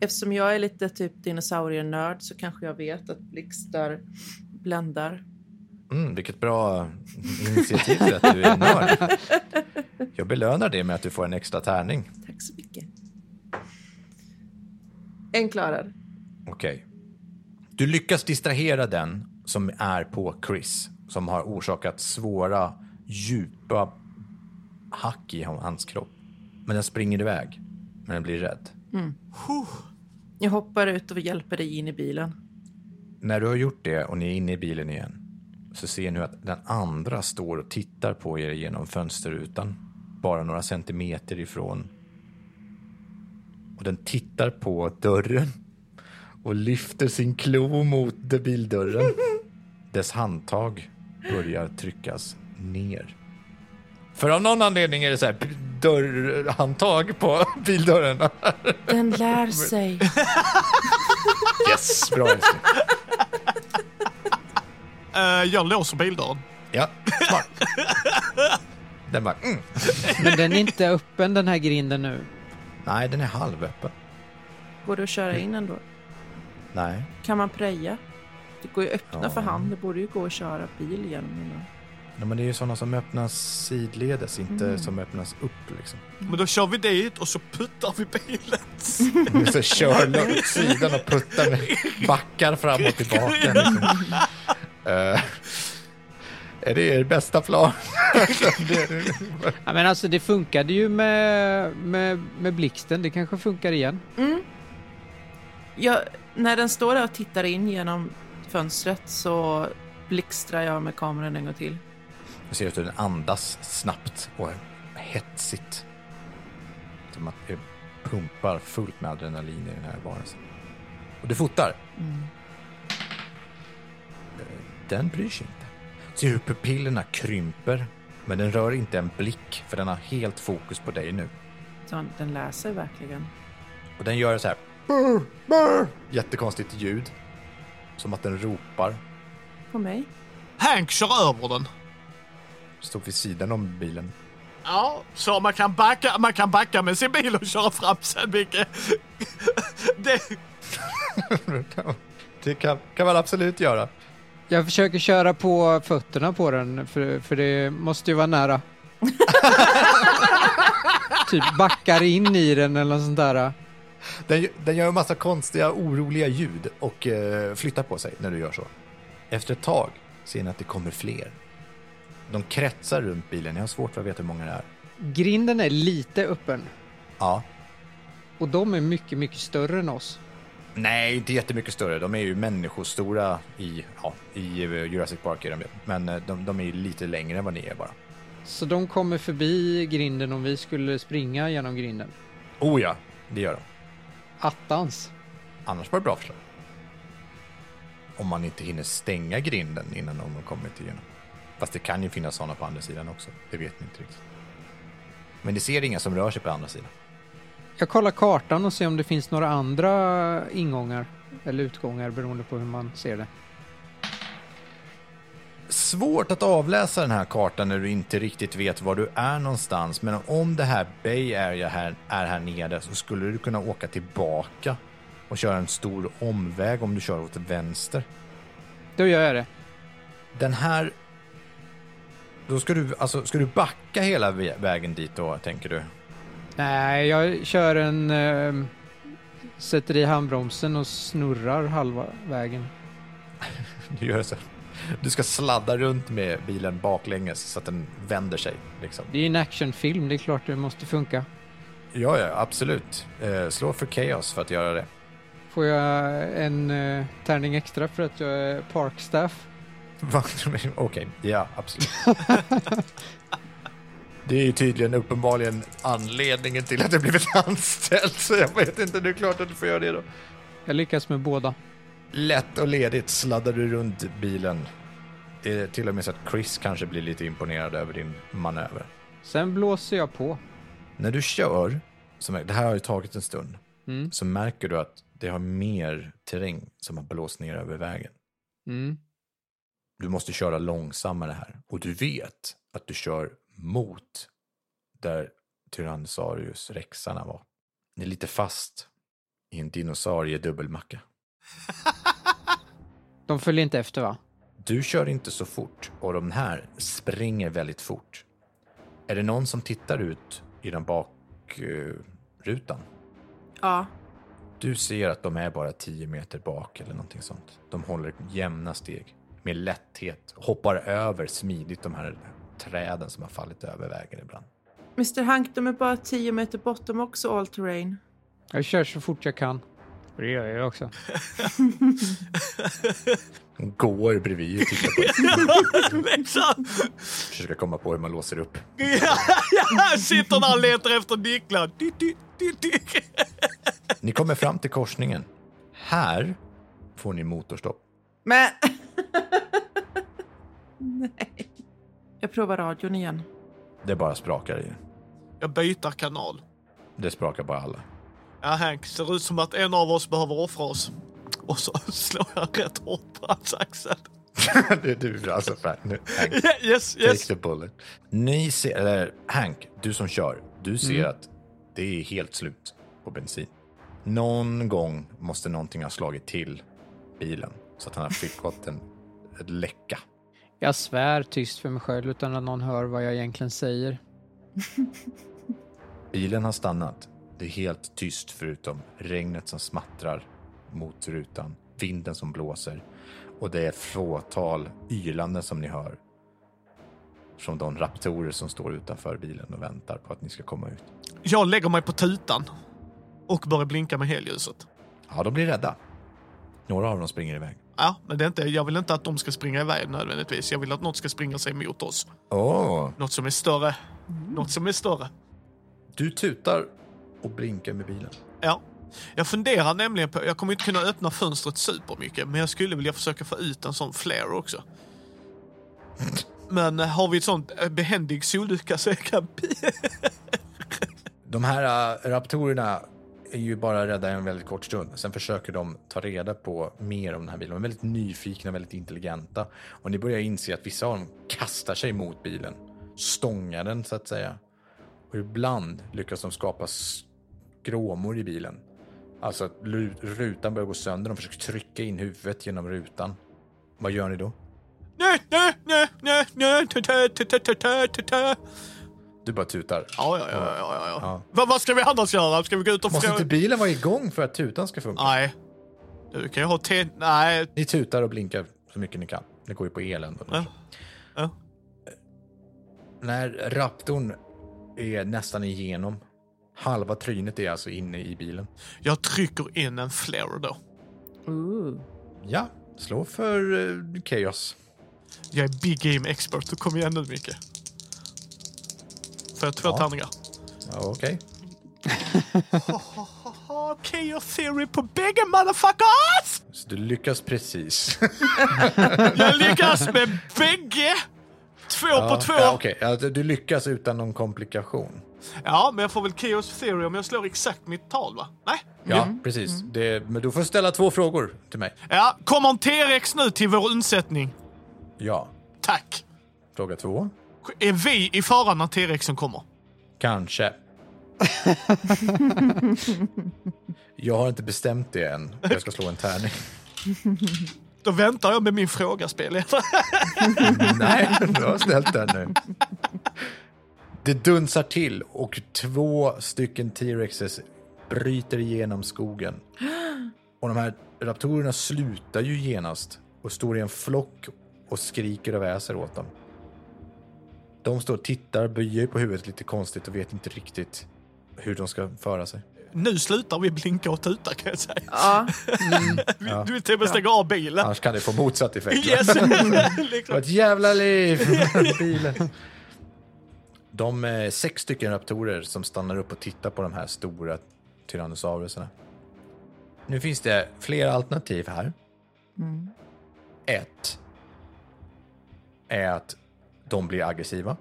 [SPEAKER 2] Eftersom jag är lite typ dinosaurienörd så kanske jag vet att blixtar bländar.
[SPEAKER 1] Mm, vilket bra initiativ för att du är nörd. Jag belönar det med att du får en extra tärning.
[SPEAKER 2] Tack så mycket. En klarad.
[SPEAKER 1] Okej. Du lyckas distrahera den som är på Chris, som har orsakat svåra, djupa hack i hans kropp. Men den springer iväg, men den blir rädd.
[SPEAKER 2] Jag hoppar ut och hjälper dig in i bilen.
[SPEAKER 1] När du har gjort det och ni är inne i bilen igen så ser ni att den andra står och tittar på er genom fönsterrutan. Bara några centimeter ifrån. Och den tittar på dörren och lyfter sin klo mot bildörren. [laughs] Dess handtag börjar tryckas ner. För av någon anledning är det så här dörrhandtag på [laughs] bildörren.
[SPEAKER 2] Den lär sig.
[SPEAKER 1] Yes, [laughs] bra älskling.
[SPEAKER 4] Eh, Jag låser bildörren.
[SPEAKER 1] Ja, smart. Den bara... Mm.
[SPEAKER 3] Men den är inte öppen den här grinden nu.
[SPEAKER 1] Nej, den är halvöppen.
[SPEAKER 2] Går det att köra in ändå?
[SPEAKER 1] Nej.
[SPEAKER 2] Kan man preja? Det går ju att öppna
[SPEAKER 1] Ja.
[SPEAKER 2] för hand. Det borde ju gå att köra bil genom innan.
[SPEAKER 1] Nej, men det är ju sådana som öppnas sidledes, inte som öppnas upp liksom.
[SPEAKER 4] Men då kör vi dit och så puttar vi bilen. [laughs]
[SPEAKER 1] Så kör den åt sidan och puttar med backar fram och tillbaka. Liksom. Eh, är det er bästa plan?
[SPEAKER 3] Ja, men alltså det funkade ju med, med, med blixten. Det kanske funkar igen.
[SPEAKER 2] Jag, när den står där och tittar in genom fönstret så blixtrar jag med kameran en gång till.
[SPEAKER 1] Du ser att den andas snabbt och hetsigt. Som att det pumpar fullt med adrenalin i den här varelsen. Och du fotar. Eh, Den bryr sig inte. Ser hur pupillerna krymper, men den rör inte en blick för den har helt fokus på dig nu.
[SPEAKER 2] utan den läser verkligen.
[SPEAKER 1] Och den gör så här. Brr, brr, jättekonstigt ljud. Som att den ropar.
[SPEAKER 2] På mig.
[SPEAKER 4] Hank kör över den.
[SPEAKER 1] Står vid sidan om bilen. [laughs]
[SPEAKER 4] Ja, så man kan backa, man kan backa med sin bil och köra fram sen, Micke. [laughs] Det, [laughs]
[SPEAKER 1] Det kan, kan man absolut göra.
[SPEAKER 3] Jag försöker köra på fötterna på den, för, för det måste ju vara nära. typ backar in i den eller något sånt där.
[SPEAKER 1] Den, den gör en massa konstiga, oroliga ljud och eh, flyttar på sig när du gör så. Efter ett tag ser ni att det kommer fler. De kretsar runt bilen. Jag har svårt för att veta hur många det är.
[SPEAKER 3] Grinden är lite öppen
[SPEAKER 1] Ja.
[SPEAKER 3] och de är mycket, mycket större än oss.
[SPEAKER 1] Nej, inte jättemycket större. De är ju människostora i, ja, i eh, Jurassic Park. Är de, ju. men eh, de, de är ju lite längre än vad ni är bara.
[SPEAKER 3] Så de kommer förbi grinden om vi skulle springa genom grinden.
[SPEAKER 1] Oh ja, det gör de.
[SPEAKER 3] Attans.
[SPEAKER 1] Annars var det bra förslag. Om man inte hinner stänga grinden innan de har kommit igenom. Fast det kan ju finnas sådana på andra sidan också. Det vet ni inte riktigt. Men ni ser inga som rör sig på andra sidan.
[SPEAKER 3] Jag kollar kartan och ser om det finns några andra ingångar eller utgångar beroende på hur man ser det.
[SPEAKER 1] Svårt att avläsa den här kartan när du inte riktigt vet var du är någonstans. Men om det här Bay Area här, är här nere så skulle du kunna åka tillbaka och köra en stor omväg om du kör åt vänster.
[SPEAKER 3] Då gör jag det.
[SPEAKER 1] Den här... Då ska du, alltså, ska du backa hela vä- vägen dit då, tänker du?
[SPEAKER 3] Nej, jag kör en... ehm, sätter i handbromsen och snurrar halva vägen.
[SPEAKER 1] Du gör så. Du ska sladda runt med bilen baklänges så att den vänder sig. Liksom.
[SPEAKER 3] Det är ju en actionfilm, det är klart det måste funka.
[SPEAKER 1] Ja, ja, absolut. Eh, slå för chaos för att göra det.
[SPEAKER 3] Får jag en eh, tärning extra för att jag är parkstaff?
[SPEAKER 1] [laughs] Va? Okej, ja, absolut. [laughs] Det är ju tydligen uppenbarligen anledningen till att du blivit [laughs] anställd, så jag vet inte. Det är klart att du får göra det då.
[SPEAKER 3] Jag lyckas med båda.
[SPEAKER 1] Lätt och ledigt sladdar du runt bilen. Det är till och med så att Chris kanske blir lite imponerad över din manöver.
[SPEAKER 3] Sen blåser jag på.
[SPEAKER 1] När du kör, som är, det här har ju tagit en stund,
[SPEAKER 3] Mm.
[SPEAKER 1] så märker du att det har mer terräng som har blåst ner över vägen.
[SPEAKER 3] Mm.
[SPEAKER 1] Du måste köra långsammare här. Och du vet att du kör mot där Tyrannosaurus rexarna var. Ni är lite fast i en dinosaurie dubbelmacka.
[SPEAKER 3] De följer inte efter va?
[SPEAKER 1] Du kör inte så fort och de här springer väldigt fort. Är det någon som tittar ut i den bakrutan?
[SPEAKER 2] Ja,
[SPEAKER 1] Du ser att de är bara 10 meter bak eller någonting sånt. De håller jämna steg med lätthet, hoppar över smidigt de här träden som har fallit över vägen ibland.
[SPEAKER 2] Mr Hank, de är bara 10 meter bort, de är också all terrain.
[SPEAKER 3] Jag kör så fort jag kan. Det gör jag också.
[SPEAKER 1] Hon går bredvid och tittar på dig.
[SPEAKER 4] liksom.
[SPEAKER 1] Försöker komma på hur man låser upp.
[SPEAKER 4] ja, ja, sitter där och letar efter nycklar. Di, di, di, di.
[SPEAKER 1] Ni kommer fram till korsningen. Här får ni motorstopp.
[SPEAKER 2] Men... [laughs] Nej. Jag provar radion igen.
[SPEAKER 1] Det bara sprakar i.
[SPEAKER 4] Jag byter kanal.
[SPEAKER 1] Det sprakar bara alla. [laughs]
[SPEAKER 4] Ja, Hank, ser ut som att en av oss behöver offra oss. Och så [laughs] slår jag rätt hårt på hans axel.
[SPEAKER 1] du, du, alltså, fan, nu, Hank,
[SPEAKER 4] Yeah, yes,
[SPEAKER 1] take
[SPEAKER 4] yes.
[SPEAKER 1] the bullet. Ni ser, eller Hank, du som kör, du ser att det är helt slut på bensin. Någon gång måste någonting ha slagit till bilen så att han har fick fått en ett läcka.
[SPEAKER 3] Jag svär tyst för mig själv utan att någon hör vad jag egentligen säger.
[SPEAKER 1] Bilen har stannat. Det är helt tyst förutom regnet som smattrar mot rutan, vinden som blåser och det är ett fåtal ylanden som ni hör. Från de raptorer som står utanför bilen och väntar på att ni ska komma ut.
[SPEAKER 4] Jag lägger mig på tutan och börjar blinka med helljuset.
[SPEAKER 1] Ja, de blir rädda. Några av dem springer iväg.
[SPEAKER 4] Ja, men det är inte, jag vill inte att de ska springa iväg nödvändigtvis. Jag vill att något ska springa sig mot oss.
[SPEAKER 1] Åh,
[SPEAKER 4] Något som är större.
[SPEAKER 1] Mm.
[SPEAKER 4] Något som är större.
[SPEAKER 1] du tutar och blinkar med bilen.
[SPEAKER 4] Ja. Jag funderar nämligen på, jag kommer inte kunna öppna fönstret supermycket, men jag skulle vilja försöka få ut en sån flare också. Men eh, har vi ett sånt eh, behändig sollucka så jag kan... pi-
[SPEAKER 1] De här äh, raptorerna är ju bara rädda en väldigt kort stund. Sen försöker de ta reda på mer om den här bilen. De är väldigt nyfikna, väldigt intelligenta. Och ni börjar inse att vissa av dem kastar sig mot bilen. Stångar den, så att säga. Och ibland lyckas de skapa skråmor i bilen. Alltså att lu- rutan börjar gå sönder. De försöker trycka in huvudet genom rutan. Vad gör ni då?
[SPEAKER 4] Nej, nej, nej, nej, nej, ta, ta, ta, ta, ta, ta, ta, ta.
[SPEAKER 1] Du bara tutar.
[SPEAKER 4] Ja, ja, ja, ja, ja, ja.
[SPEAKER 1] Ja.
[SPEAKER 4] Vad, vad ska vi annars göra? Ska vi gå ut och
[SPEAKER 1] Måste
[SPEAKER 4] fråga?
[SPEAKER 1] inte bilen vara igång för att tutan ska funka?
[SPEAKER 4] Nej. Du kan ju ha te... Nej.
[SPEAKER 1] Ni tutar och blinkar så mycket ni kan. Det går ju på elen.
[SPEAKER 4] Ja. Ja.
[SPEAKER 1] När raptorn är nästan igenom, halva trynet är alltså inne i bilen.
[SPEAKER 4] Jag trycker in en flare då.
[SPEAKER 2] Ooh.
[SPEAKER 1] Ja, slå för eh, chaos.
[SPEAKER 4] Jag är big game expert. Då kom igen nu, Micke. Får jag två
[SPEAKER 1] Ja.
[SPEAKER 4] tärningar?
[SPEAKER 1] Ja, Okej.
[SPEAKER 4] Haha, chaos theory på bägge motherfuckers!
[SPEAKER 1] Så du lyckas
[SPEAKER 4] [laughs]
[SPEAKER 1] precis.
[SPEAKER 4] Jag lyckas med bägge! Två på två.
[SPEAKER 1] Ja, okej. Ja, du- du lyckas utan någon komplikation.
[SPEAKER 4] Ja, men jag får väl chaos theory om jag slår exakt mitt tal, va? Nej?
[SPEAKER 1] Ja,
[SPEAKER 4] Mm.
[SPEAKER 1] precis. Det, men du får ställa två frågor till mig.
[SPEAKER 4] Ja, kommer en T-rex nu till vår undsättning?
[SPEAKER 1] Ja.
[SPEAKER 4] Tack.
[SPEAKER 1] Fråga två.
[SPEAKER 4] Är vi i fara när T-rexen kommer?
[SPEAKER 1] Kanske. Jag har inte bestämt det än. Jag ska slå en tärning.
[SPEAKER 4] Då väntar jag med min fråga, spelledare.
[SPEAKER 1] Nej, du har snällt där nu. Det dunsar till och två stycken T-Rexes bryter igenom skogen. Och de här raptorerna slutar ju genast och står i en flock och skriker och väser åt dem. De står och tittar, böjer på huvudet lite konstigt och vet inte riktigt hur de ska föra sig.
[SPEAKER 4] Nu slutar vi blinka och tuta, kan jag säga.
[SPEAKER 2] [laughs] Ja,
[SPEAKER 4] Vi- Du vill till och med stänga av bilen.
[SPEAKER 1] Annars kan det få motsatt effekt.
[SPEAKER 4] Yes!
[SPEAKER 1] [laughs] Det var
[SPEAKER 4] liksom.
[SPEAKER 1] ett jävla liv! [laughs] Bilen. De eh, sex stycken raptorer som stannar upp och tittar på de här stora tyrannosaurusarna. Nu finns det flera alternativ här. Ett är att de blir aggressiva.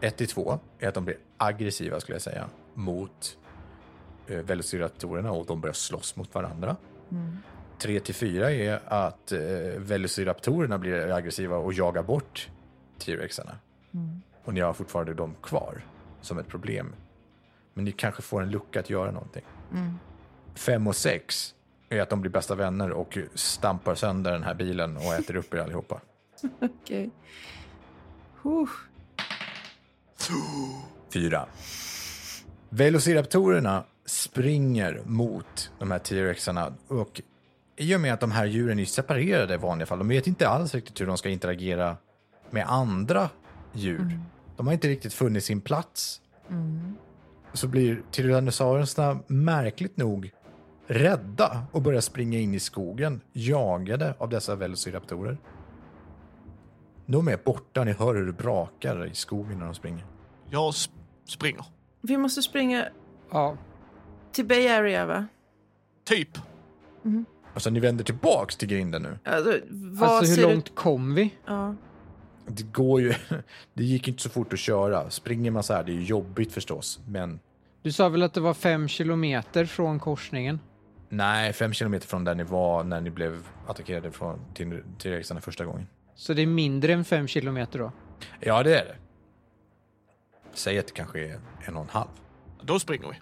[SPEAKER 1] Ett till två är att de blir aggressiva skulle jag säga mot eh, velociraptorerna och de börjar slåss mot varandra. 3 till 4 är att eh, velociraptorerna blir aggressiva och jagar bort T-rexarna. Och ni har fortfarande dem kvar som ett problem. Men ni kanske får en lucka att göra någonting. 5 och 6 är att de blir bästa vänner och stampar sönder den här bilen och äter upp er allihopa.
[SPEAKER 2] okej. Huh.
[SPEAKER 1] 4. Velociraptorerna springer mot de här T-rexarna och i och med att de här djuren är separerade i vanliga fall, de vet inte alls riktigt hur de ska interagera med andra djur. De har inte riktigt funnit sin plats. Så blir tyrannosaurusarna märkligt nog rädda och börjar springa in i skogen jagade av dessa velociraptorer. De är borta, ni hör hur det brakar i skogen när de springer.
[SPEAKER 4] Jag sp- springer.
[SPEAKER 2] Vi måste springa
[SPEAKER 3] Ja.
[SPEAKER 2] till Bay Area, va?
[SPEAKER 4] Typ.
[SPEAKER 1] Alltså ni vänder tillbaks till grinden nu.
[SPEAKER 2] Alltså, vad
[SPEAKER 3] Alltså
[SPEAKER 2] ser
[SPEAKER 3] hur långt kom vi?
[SPEAKER 2] du... Ja.
[SPEAKER 1] Det går ju... [laughs] Det gick inte så fort att köra. Springer man så här, det är ju jobbigt förstås. Men
[SPEAKER 3] Du sa väl att det var fem kilometer från korsningen?
[SPEAKER 1] nej, fem kilometer från där ni var när ni blev attackerade från till T-rexarna första gången.
[SPEAKER 3] Så det är mindre än fem kilometer då?
[SPEAKER 1] Ja, det är det. Säg att det kanske är en och en halv.
[SPEAKER 4] Då springer vi.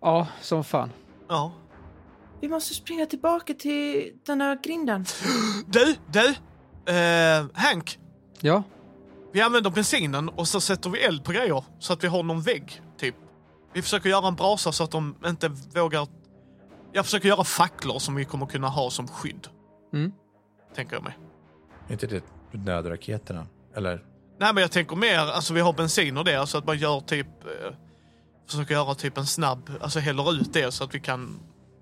[SPEAKER 3] Ja, som fan.
[SPEAKER 4] Ja.
[SPEAKER 2] Vi måste springa tillbaka till den här grinden.
[SPEAKER 4] Du, du. Eh, Hank.
[SPEAKER 3] Ja,
[SPEAKER 4] Vi använder bensinen och så sätter vi eld på grejer så att vi har någon vägg, typ. Vi försöker göra en brasa så att de inte vågar... Jag försöker göra facklor som vi kommer kunna ha som skydd.
[SPEAKER 3] Mm.
[SPEAKER 4] Tänker jag mig.
[SPEAKER 1] Är inte det nödraketerna? Eller?
[SPEAKER 4] Nej, men jag tänker mer, alltså vi har bensin och det, alltså att man gör typ... Eh, försöker göra typ en snabb, alltså häller ut det så att vi kan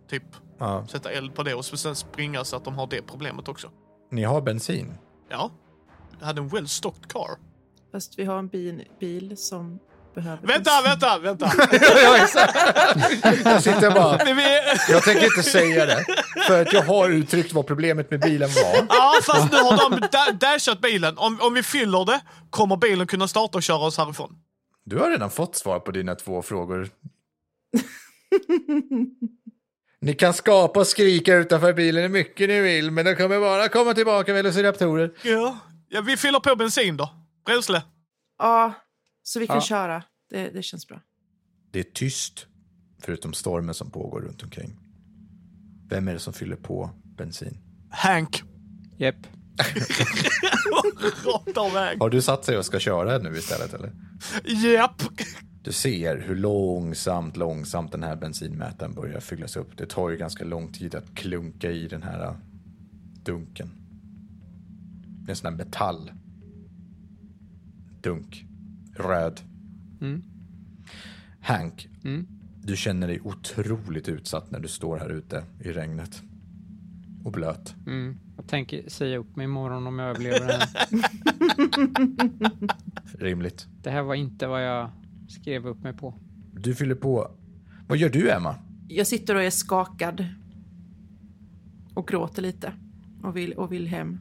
[SPEAKER 4] typ
[SPEAKER 1] Ja,
[SPEAKER 4] sätta eld på det och sen springa så att de har det problemet också.
[SPEAKER 1] ni har bensin.
[SPEAKER 4] Ja. Jag hade en well stocked car.
[SPEAKER 2] Fast vi har en bil, bil som behöver...
[SPEAKER 4] Vänta, vänta, vänta! [laughs]
[SPEAKER 1] Jag sitter bara...
[SPEAKER 4] Men vi...
[SPEAKER 1] Jag tänker inte säga det. För att jag har uttryckt vad problemet med bilen var.
[SPEAKER 4] Ja, fast nu har de da- dashat bilen. Om, om vi fyller det kommer bilen kunna starta och köra oss härifrån.
[SPEAKER 1] [laughs] Du har redan fått svar på dina två frågor. Ni kan skapa och skrika utanför bilen hur mycket ni vill, men de kommer bara komma tillbaka med velociraptorer.
[SPEAKER 4] Ja. ja, vi fyller på bensin då. Bränsle.
[SPEAKER 2] Ja, så vi kan
[SPEAKER 3] Ja.
[SPEAKER 2] köra. Det, det känns bra.
[SPEAKER 1] Det är tyst, förutom stormen som pågår runt omkring. Vem är det som fyller på bensin?
[SPEAKER 4] Hank.
[SPEAKER 3] Jepp.
[SPEAKER 4] Rakt av väg.
[SPEAKER 1] Har du satt sig och ska köra nu istället eller?
[SPEAKER 4] Japp.
[SPEAKER 1] Du ser hur långsamt, långsamt den här bensinmätaren börjar fyllas upp. Det tar ju ganska lång tid att klunka i den här äh, dunken. Det är en sån här metall. Dunk. Röd. Hank, du känner dig otroligt utsatt när du står här ute i regnet. Och blöt.
[SPEAKER 3] Mm. Jag tänker säga upp mig imorgon om jag överlever det [laughs] här.
[SPEAKER 1] Rimligt.
[SPEAKER 3] Det här var inte vad jag skrev upp mig på.
[SPEAKER 1] Du fyller på. Vad gör du, Emma?
[SPEAKER 2] Jag sitter och är skakad. Och gråter lite. Och vill, och vill hem.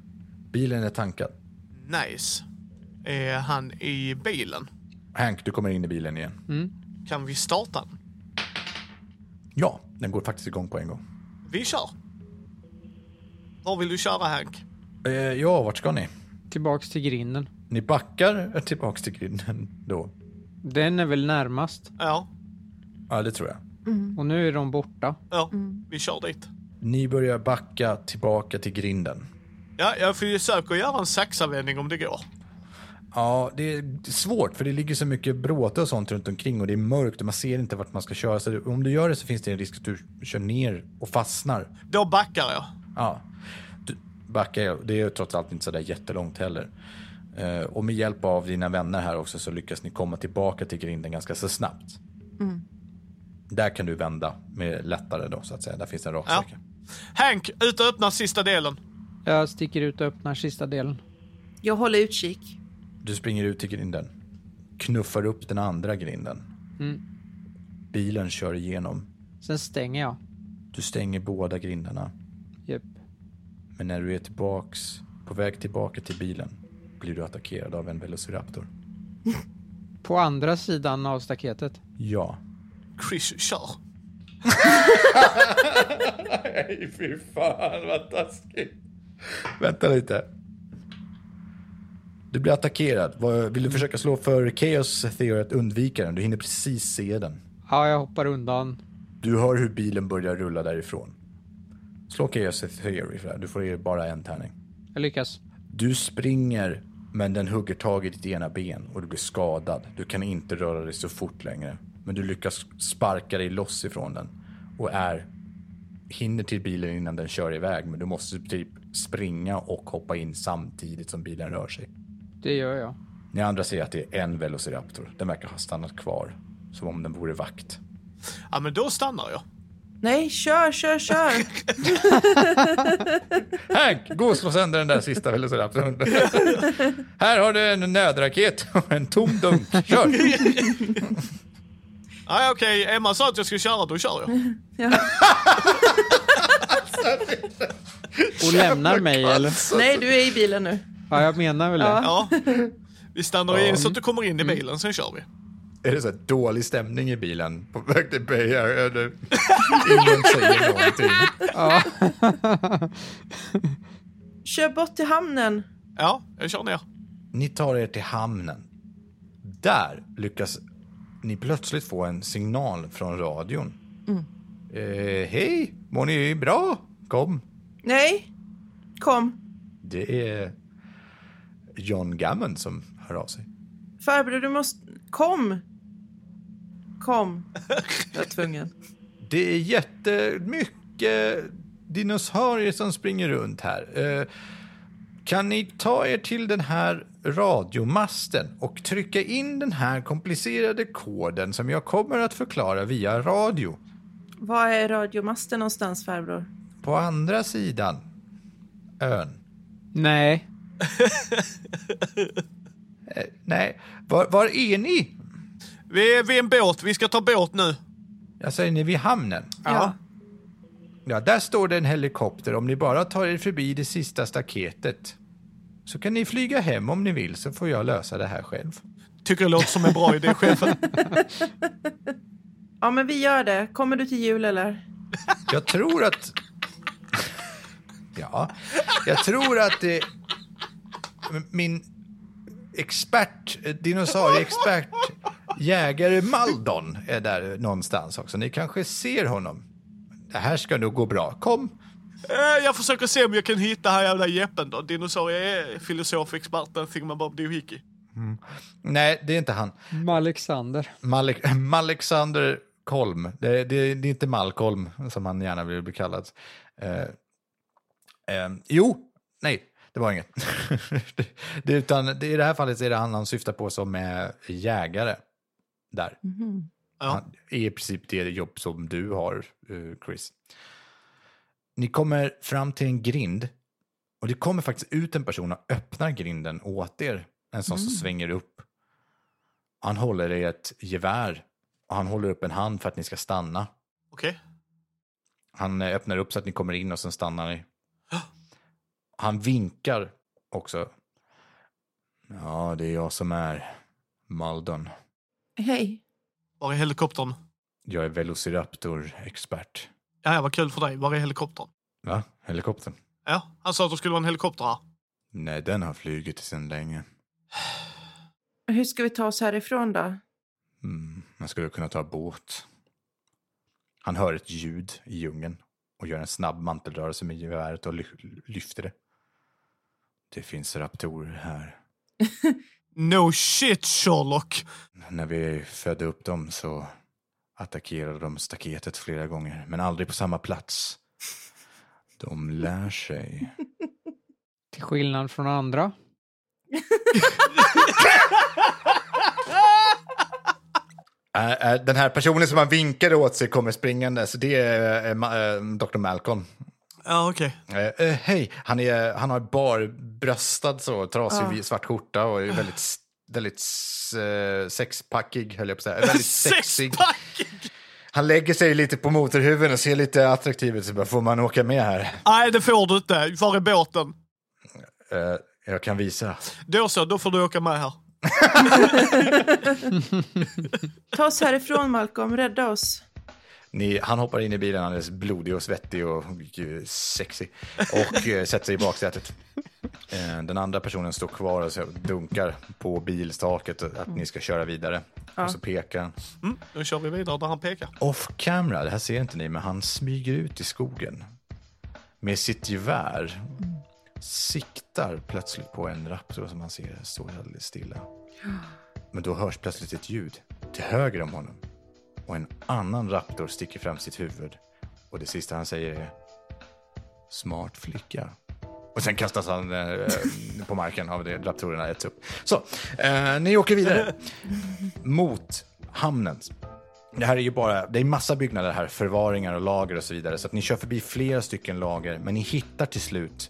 [SPEAKER 1] Bilen är tankad.
[SPEAKER 4] Nice. Är han i bilen?
[SPEAKER 1] Hank, du kommer in i bilen igen.
[SPEAKER 4] Kan vi starta den?
[SPEAKER 1] Ja, den går faktiskt igång på en gång.
[SPEAKER 4] Vi kör. Var vill du köra Hank?
[SPEAKER 1] Eh, ja, vart ska ni?
[SPEAKER 3] Tillbaks till grinden.
[SPEAKER 1] Ni backar tillbaks till grinden då?
[SPEAKER 3] Den är väl närmast.
[SPEAKER 4] Ja,
[SPEAKER 1] Ja, det tror jag.
[SPEAKER 2] Mm.
[SPEAKER 3] Och nu är de borta.
[SPEAKER 4] ja. vi kör dit.
[SPEAKER 1] Ni börjar backa tillbaka till grinden.
[SPEAKER 4] Ja, jag försöker göra en saxavändning om det går.
[SPEAKER 1] Ja, det är svårt för det ligger så mycket bråte och sånt runt omkring och det är mörkt och man ser inte vart man ska köra. Så om du gör det så finns det en risk att du kör ner och fastnar.
[SPEAKER 4] Då backar jag.
[SPEAKER 1] Ja. Du backar jag. Det är ju trots allt inte så där jättelångt heller. Eh, och med hjälp av dina vänner här också så lyckas ni komma tillbaka till grinden ganska så snabbt. Där kan du vända med lättare då så att säga. Där finns det en raksträcka.
[SPEAKER 4] Hank, ut och öppna sista delen.
[SPEAKER 3] Jag sticker ut och öppnar sista delen.
[SPEAKER 2] Jag håller utkik.
[SPEAKER 1] Du springer ut till grinden. Knuffar upp den andra grinden. Bilen kör igenom.
[SPEAKER 3] Sen stänger jag.
[SPEAKER 1] Du stänger båda grindarna.
[SPEAKER 3] Jepp.
[SPEAKER 1] Men när du är tillbaks, på väg tillbaka till bilen blir du attackerad av en Velociraptor.
[SPEAKER 3] På andra sidan av staketet.
[SPEAKER 1] Ja.
[SPEAKER 4] Chris, kör.
[SPEAKER 1] Nej, fy fan vad taskigt. Vänta lite. Du blir attackerad. Vad- Vill du försöka slå för Chaos Theory att undvika den? Du hinner precis se den.
[SPEAKER 3] Ja, jag hoppar undan.
[SPEAKER 1] Du hör hur bilen börjar rulla därifrån. Slå Chaos Theory för det här. Du får ju bara en tärning.
[SPEAKER 3] Jag lyckas.
[SPEAKER 1] Du springer men den hugger tag i ditt ena ben och du blir skadad. Du kan inte röra dig så fort längre. Men du lyckas sparka dig loss ifrån den och är hinner till bilen innan den kör iväg. Men du måste typ springa och hoppa in samtidigt som bilen rör sig.
[SPEAKER 3] Det gör jag.
[SPEAKER 1] Ni andra ser att det är en Velociraptor. Den verkar ha stannat kvar som om den vore vakt.
[SPEAKER 4] Ja, men då stannar jag.
[SPEAKER 2] Nej, kör, kör, kör!
[SPEAKER 4] [laughs]
[SPEAKER 1] Hank, gå och slå sönder den där sista Velociraptorn. Här har du en nödraket och en tom dunk. Kör!
[SPEAKER 4] Ja, okej, Emma sa att jag skulle köra, då kör jag.
[SPEAKER 2] Ja.
[SPEAKER 3] Och lämnar mig eller?
[SPEAKER 2] Nej, du är i bilen nu.
[SPEAKER 3] Ja, jag menar väl det.
[SPEAKER 2] Ja.
[SPEAKER 4] Ja. Vi stannar in så att du kommer in i bilen, sen kör vi.
[SPEAKER 1] Är det så här dålig stämning i bilen på väg till Beja? Eller ingen säger någonting?
[SPEAKER 2] Kör bort till hamnen.
[SPEAKER 4] Ja, jag kör ner.
[SPEAKER 1] Ni tar er till hamnen. Där lyckas ni plötsligt få en signal från radion. Eh, Hej, mår ni bra? Kom.
[SPEAKER 2] Nej, kom.
[SPEAKER 1] Det är John Gammon som hör av sig.
[SPEAKER 2] Farbror, du måste... Kom! Kom. Jag är tvungen.
[SPEAKER 1] Det är jättemycket dinosaurier som springer runt här. Eh, Kan ni ta er till den här radiomasten och trycka in den här komplicerade koden som jag kommer att förklara via radio?
[SPEAKER 2] Var är radiomasten någonstans, farbror?
[SPEAKER 1] På andra sidan ön.
[SPEAKER 3] Nej.
[SPEAKER 1] Eh, Nej, var, var är ni?
[SPEAKER 4] Vi är vid en båt, vi ska ta båt nu.
[SPEAKER 1] Jag säger ni vid hamnen.
[SPEAKER 2] Ja.
[SPEAKER 1] Ja, där står det en helikopter. Om ni bara tar er förbi det sista staketet så kan ni flyga hem om ni vill så får jag lösa det här själv.
[SPEAKER 4] Tycker det låter som en bra idé, chefen.
[SPEAKER 2] Ja, men vi gör det. Kommer du till jul eller?
[SPEAKER 1] Jag tror att... Ja. Jag tror att det... Min expert, dinosaurieexpert, jägare Maldon är där någonstans också. Ni kanske ser honom. Det här ska nog gå bra. Kom!
[SPEAKER 4] Eh, Jag försöker se om jag kan hitta här jävla jeppen då. Dinosaurie är filosof, experten, thingamabob, doohickey.
[SPEAKER 1] Nej, det är inte han.
[SPEAKER 3] Alexander.
[SPEAKER 1] Malek- [laughs] Malexander Kolm. Det, det, det är inte Malcolm som han gärna vill bli kallad. Eh, ehm, jo, nej, det var inget. [laughs] det, det, utan det, I det här fallet är det han han syftar på som är jägare. Där.
[SPEAKER 4] Ja.
[SPEAKER 1] Han, I princip det jobb som du har, eh, Chris. Ni kommer fram till en grind. Och det kommer faktiskt ut en person och öppnar grinden åt er. En sån som svänger upp. Han håller i ett gevär. Och han håller upp en hand för att ni ska stanna.
[SPEAKER 4] Okej.
[SPEAKER 1] Han eh, öppnar upp så att ni kommer in och sen stannar ni.
[SPEAKER 4] Ja.
[SPEAKER 1] Han vinkar också. Ja, det är jag som är Maldon.
[SPEAKER 2] Hej.
[SPEAKER 4] Var är helikoptern?
[SPEAKER 1] Jag är velociraptor-expert.
[SPEAKER 4] Ja, ja, vad kul för dig. Var är helikoptern?
[SPEAKER 1] Va? Helikoptern?
[SPEAKER 4] Ja, han sa att det skulle vara en helikopter här.
[SPEAKER 1] Nej, den har flugit sedan länge.
[SPEAKER 2] Hur ska vi ta oss härifrån då?
[SPEAKER 1] Mm, man skulle kunna ta båt. Han hör ett ljud i djungeln och gör en snabb mantelrörelse med geväret och ly- lyfter det. Det finns raptorer här.
[SPEAKER 4] No shit, Sherlock!
[SPEAKER 1] När vi födde upp dem så attackerade de staketet flera gånger, men aldrig på samma plats. De lär sig.
[SPEAKER 3] Till skillnad från andra.
[SPEAKER 1] Ä- ä, Den här personen som han vinkade åt sig kommer springande, så det är eh, Ma- eh, Dr. Malcolm.
[SPEAKER 4] Ja, okej.
[SPEAKER 1] Eh, eh, Hej! Han, är, han har barbröstad så, trasig
[SPEAKER 2] Ah.
[SPEAKER 1] vit- svart skjorta och är väldigt, s- väldigt s- eh, sexpackig, höll jag på att säga. Väldigt sexig.
[SPEAKER 4] Sexpack!
[SPEAKER 1] Han lägger sig lite på motorhuven och ser lite attraktiv ut. Så bara, får man åka med här?
[SPEAKER 4] Nej, det får du inte. Var är båten?
[SPEAKER 1] Eh, jag kan visa.
[SPEAKER 4] Då så, då får du åka med här.
[SPEAKER 2] Ta oss härifrån Malcolm, rädda oss.
[SPEAKER 1] Ni, han hoppar in i bilen, han är blodig och svettig och eh, sexig. Och eh, sätter sig i baksätet. Eh, den andra personen står kvar och så dunkar på bilstaket att ni ska köra vidare. Och så pekar han.
[SPEAKER 4] Mm, då kör vi vidare där han pekar.
[SPEAKER 1] off camera, det här ser inte ni, men han smyger ut i skogen med sitt gevär. Siktar plötsligt på en raptor som han ser står alldeles stilla. Men då hörs plötsligt ett ljud till höger om honom. Och en annan raptor sticker fram sitt huvud. Och det sista han säger är smart flicka. Och sen kastas han eh, på marken av det raptorerna äts upp. Så, eh, ni åker vidare mot hamnen. Det här är ju bara, det är massa byggnader här, förvaringar och lager och så vidare. Så att ni kör förbi flera stycken lager, men ni hittar till slut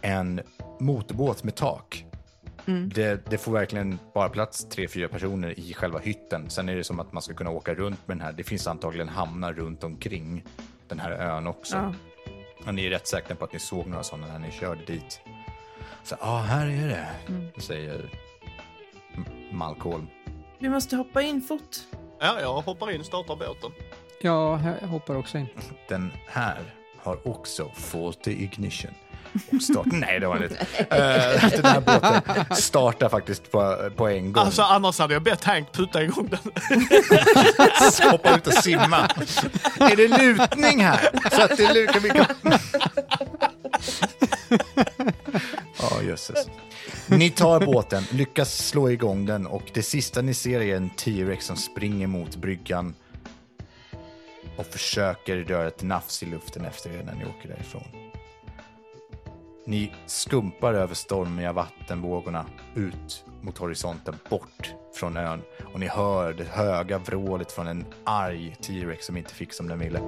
[SPEAKER 1] en motorbåt med tak. Det, det får verkligen bara plats tre, fyra personer i själva hytten. Sen är det som att man ska kunna åka runt med den här. Det finns antagligen hamnar runt omkring den här ön också.
[SPEAKER 2] Ja.
[SPEAKER 1] Och ni är rätt säkra på att ni såg några sådana när ni körde dit. Så, ja, här är det, säger M- Malcolm.
[SPEAKER 2] Vi måste hoppa in fort.
[SPEAKER 4] Ja, jag hoppar in, startar båten.
[SPEAKER 3] Ja, jag hoppar också in.
[SPEAKER 1] Den här har också faulty ignition. Och start... Nej, det var den inte. Eh, den här båten startar faktiskt på, på en gång.
[SPEAKER 4] Alltså, annars hade jag bett Hank puta igång den.
[SPEAKER 1] Hoppa ut och simma. är det lutning här? Så att det lukar vi kan... Ja, jösses. Ni tar båten, lyckas slå igång den och det sista ni ser är en T-Rex som springer mot bryggan och försöker göra ett nafs i luften efter er när ni åker därifrån. Ni skumpar över stormiga vattenvågorna ut mot horisonten, bort från ön och ni hör det höga vrålet från en arg T-Rex som inte fick som den ville.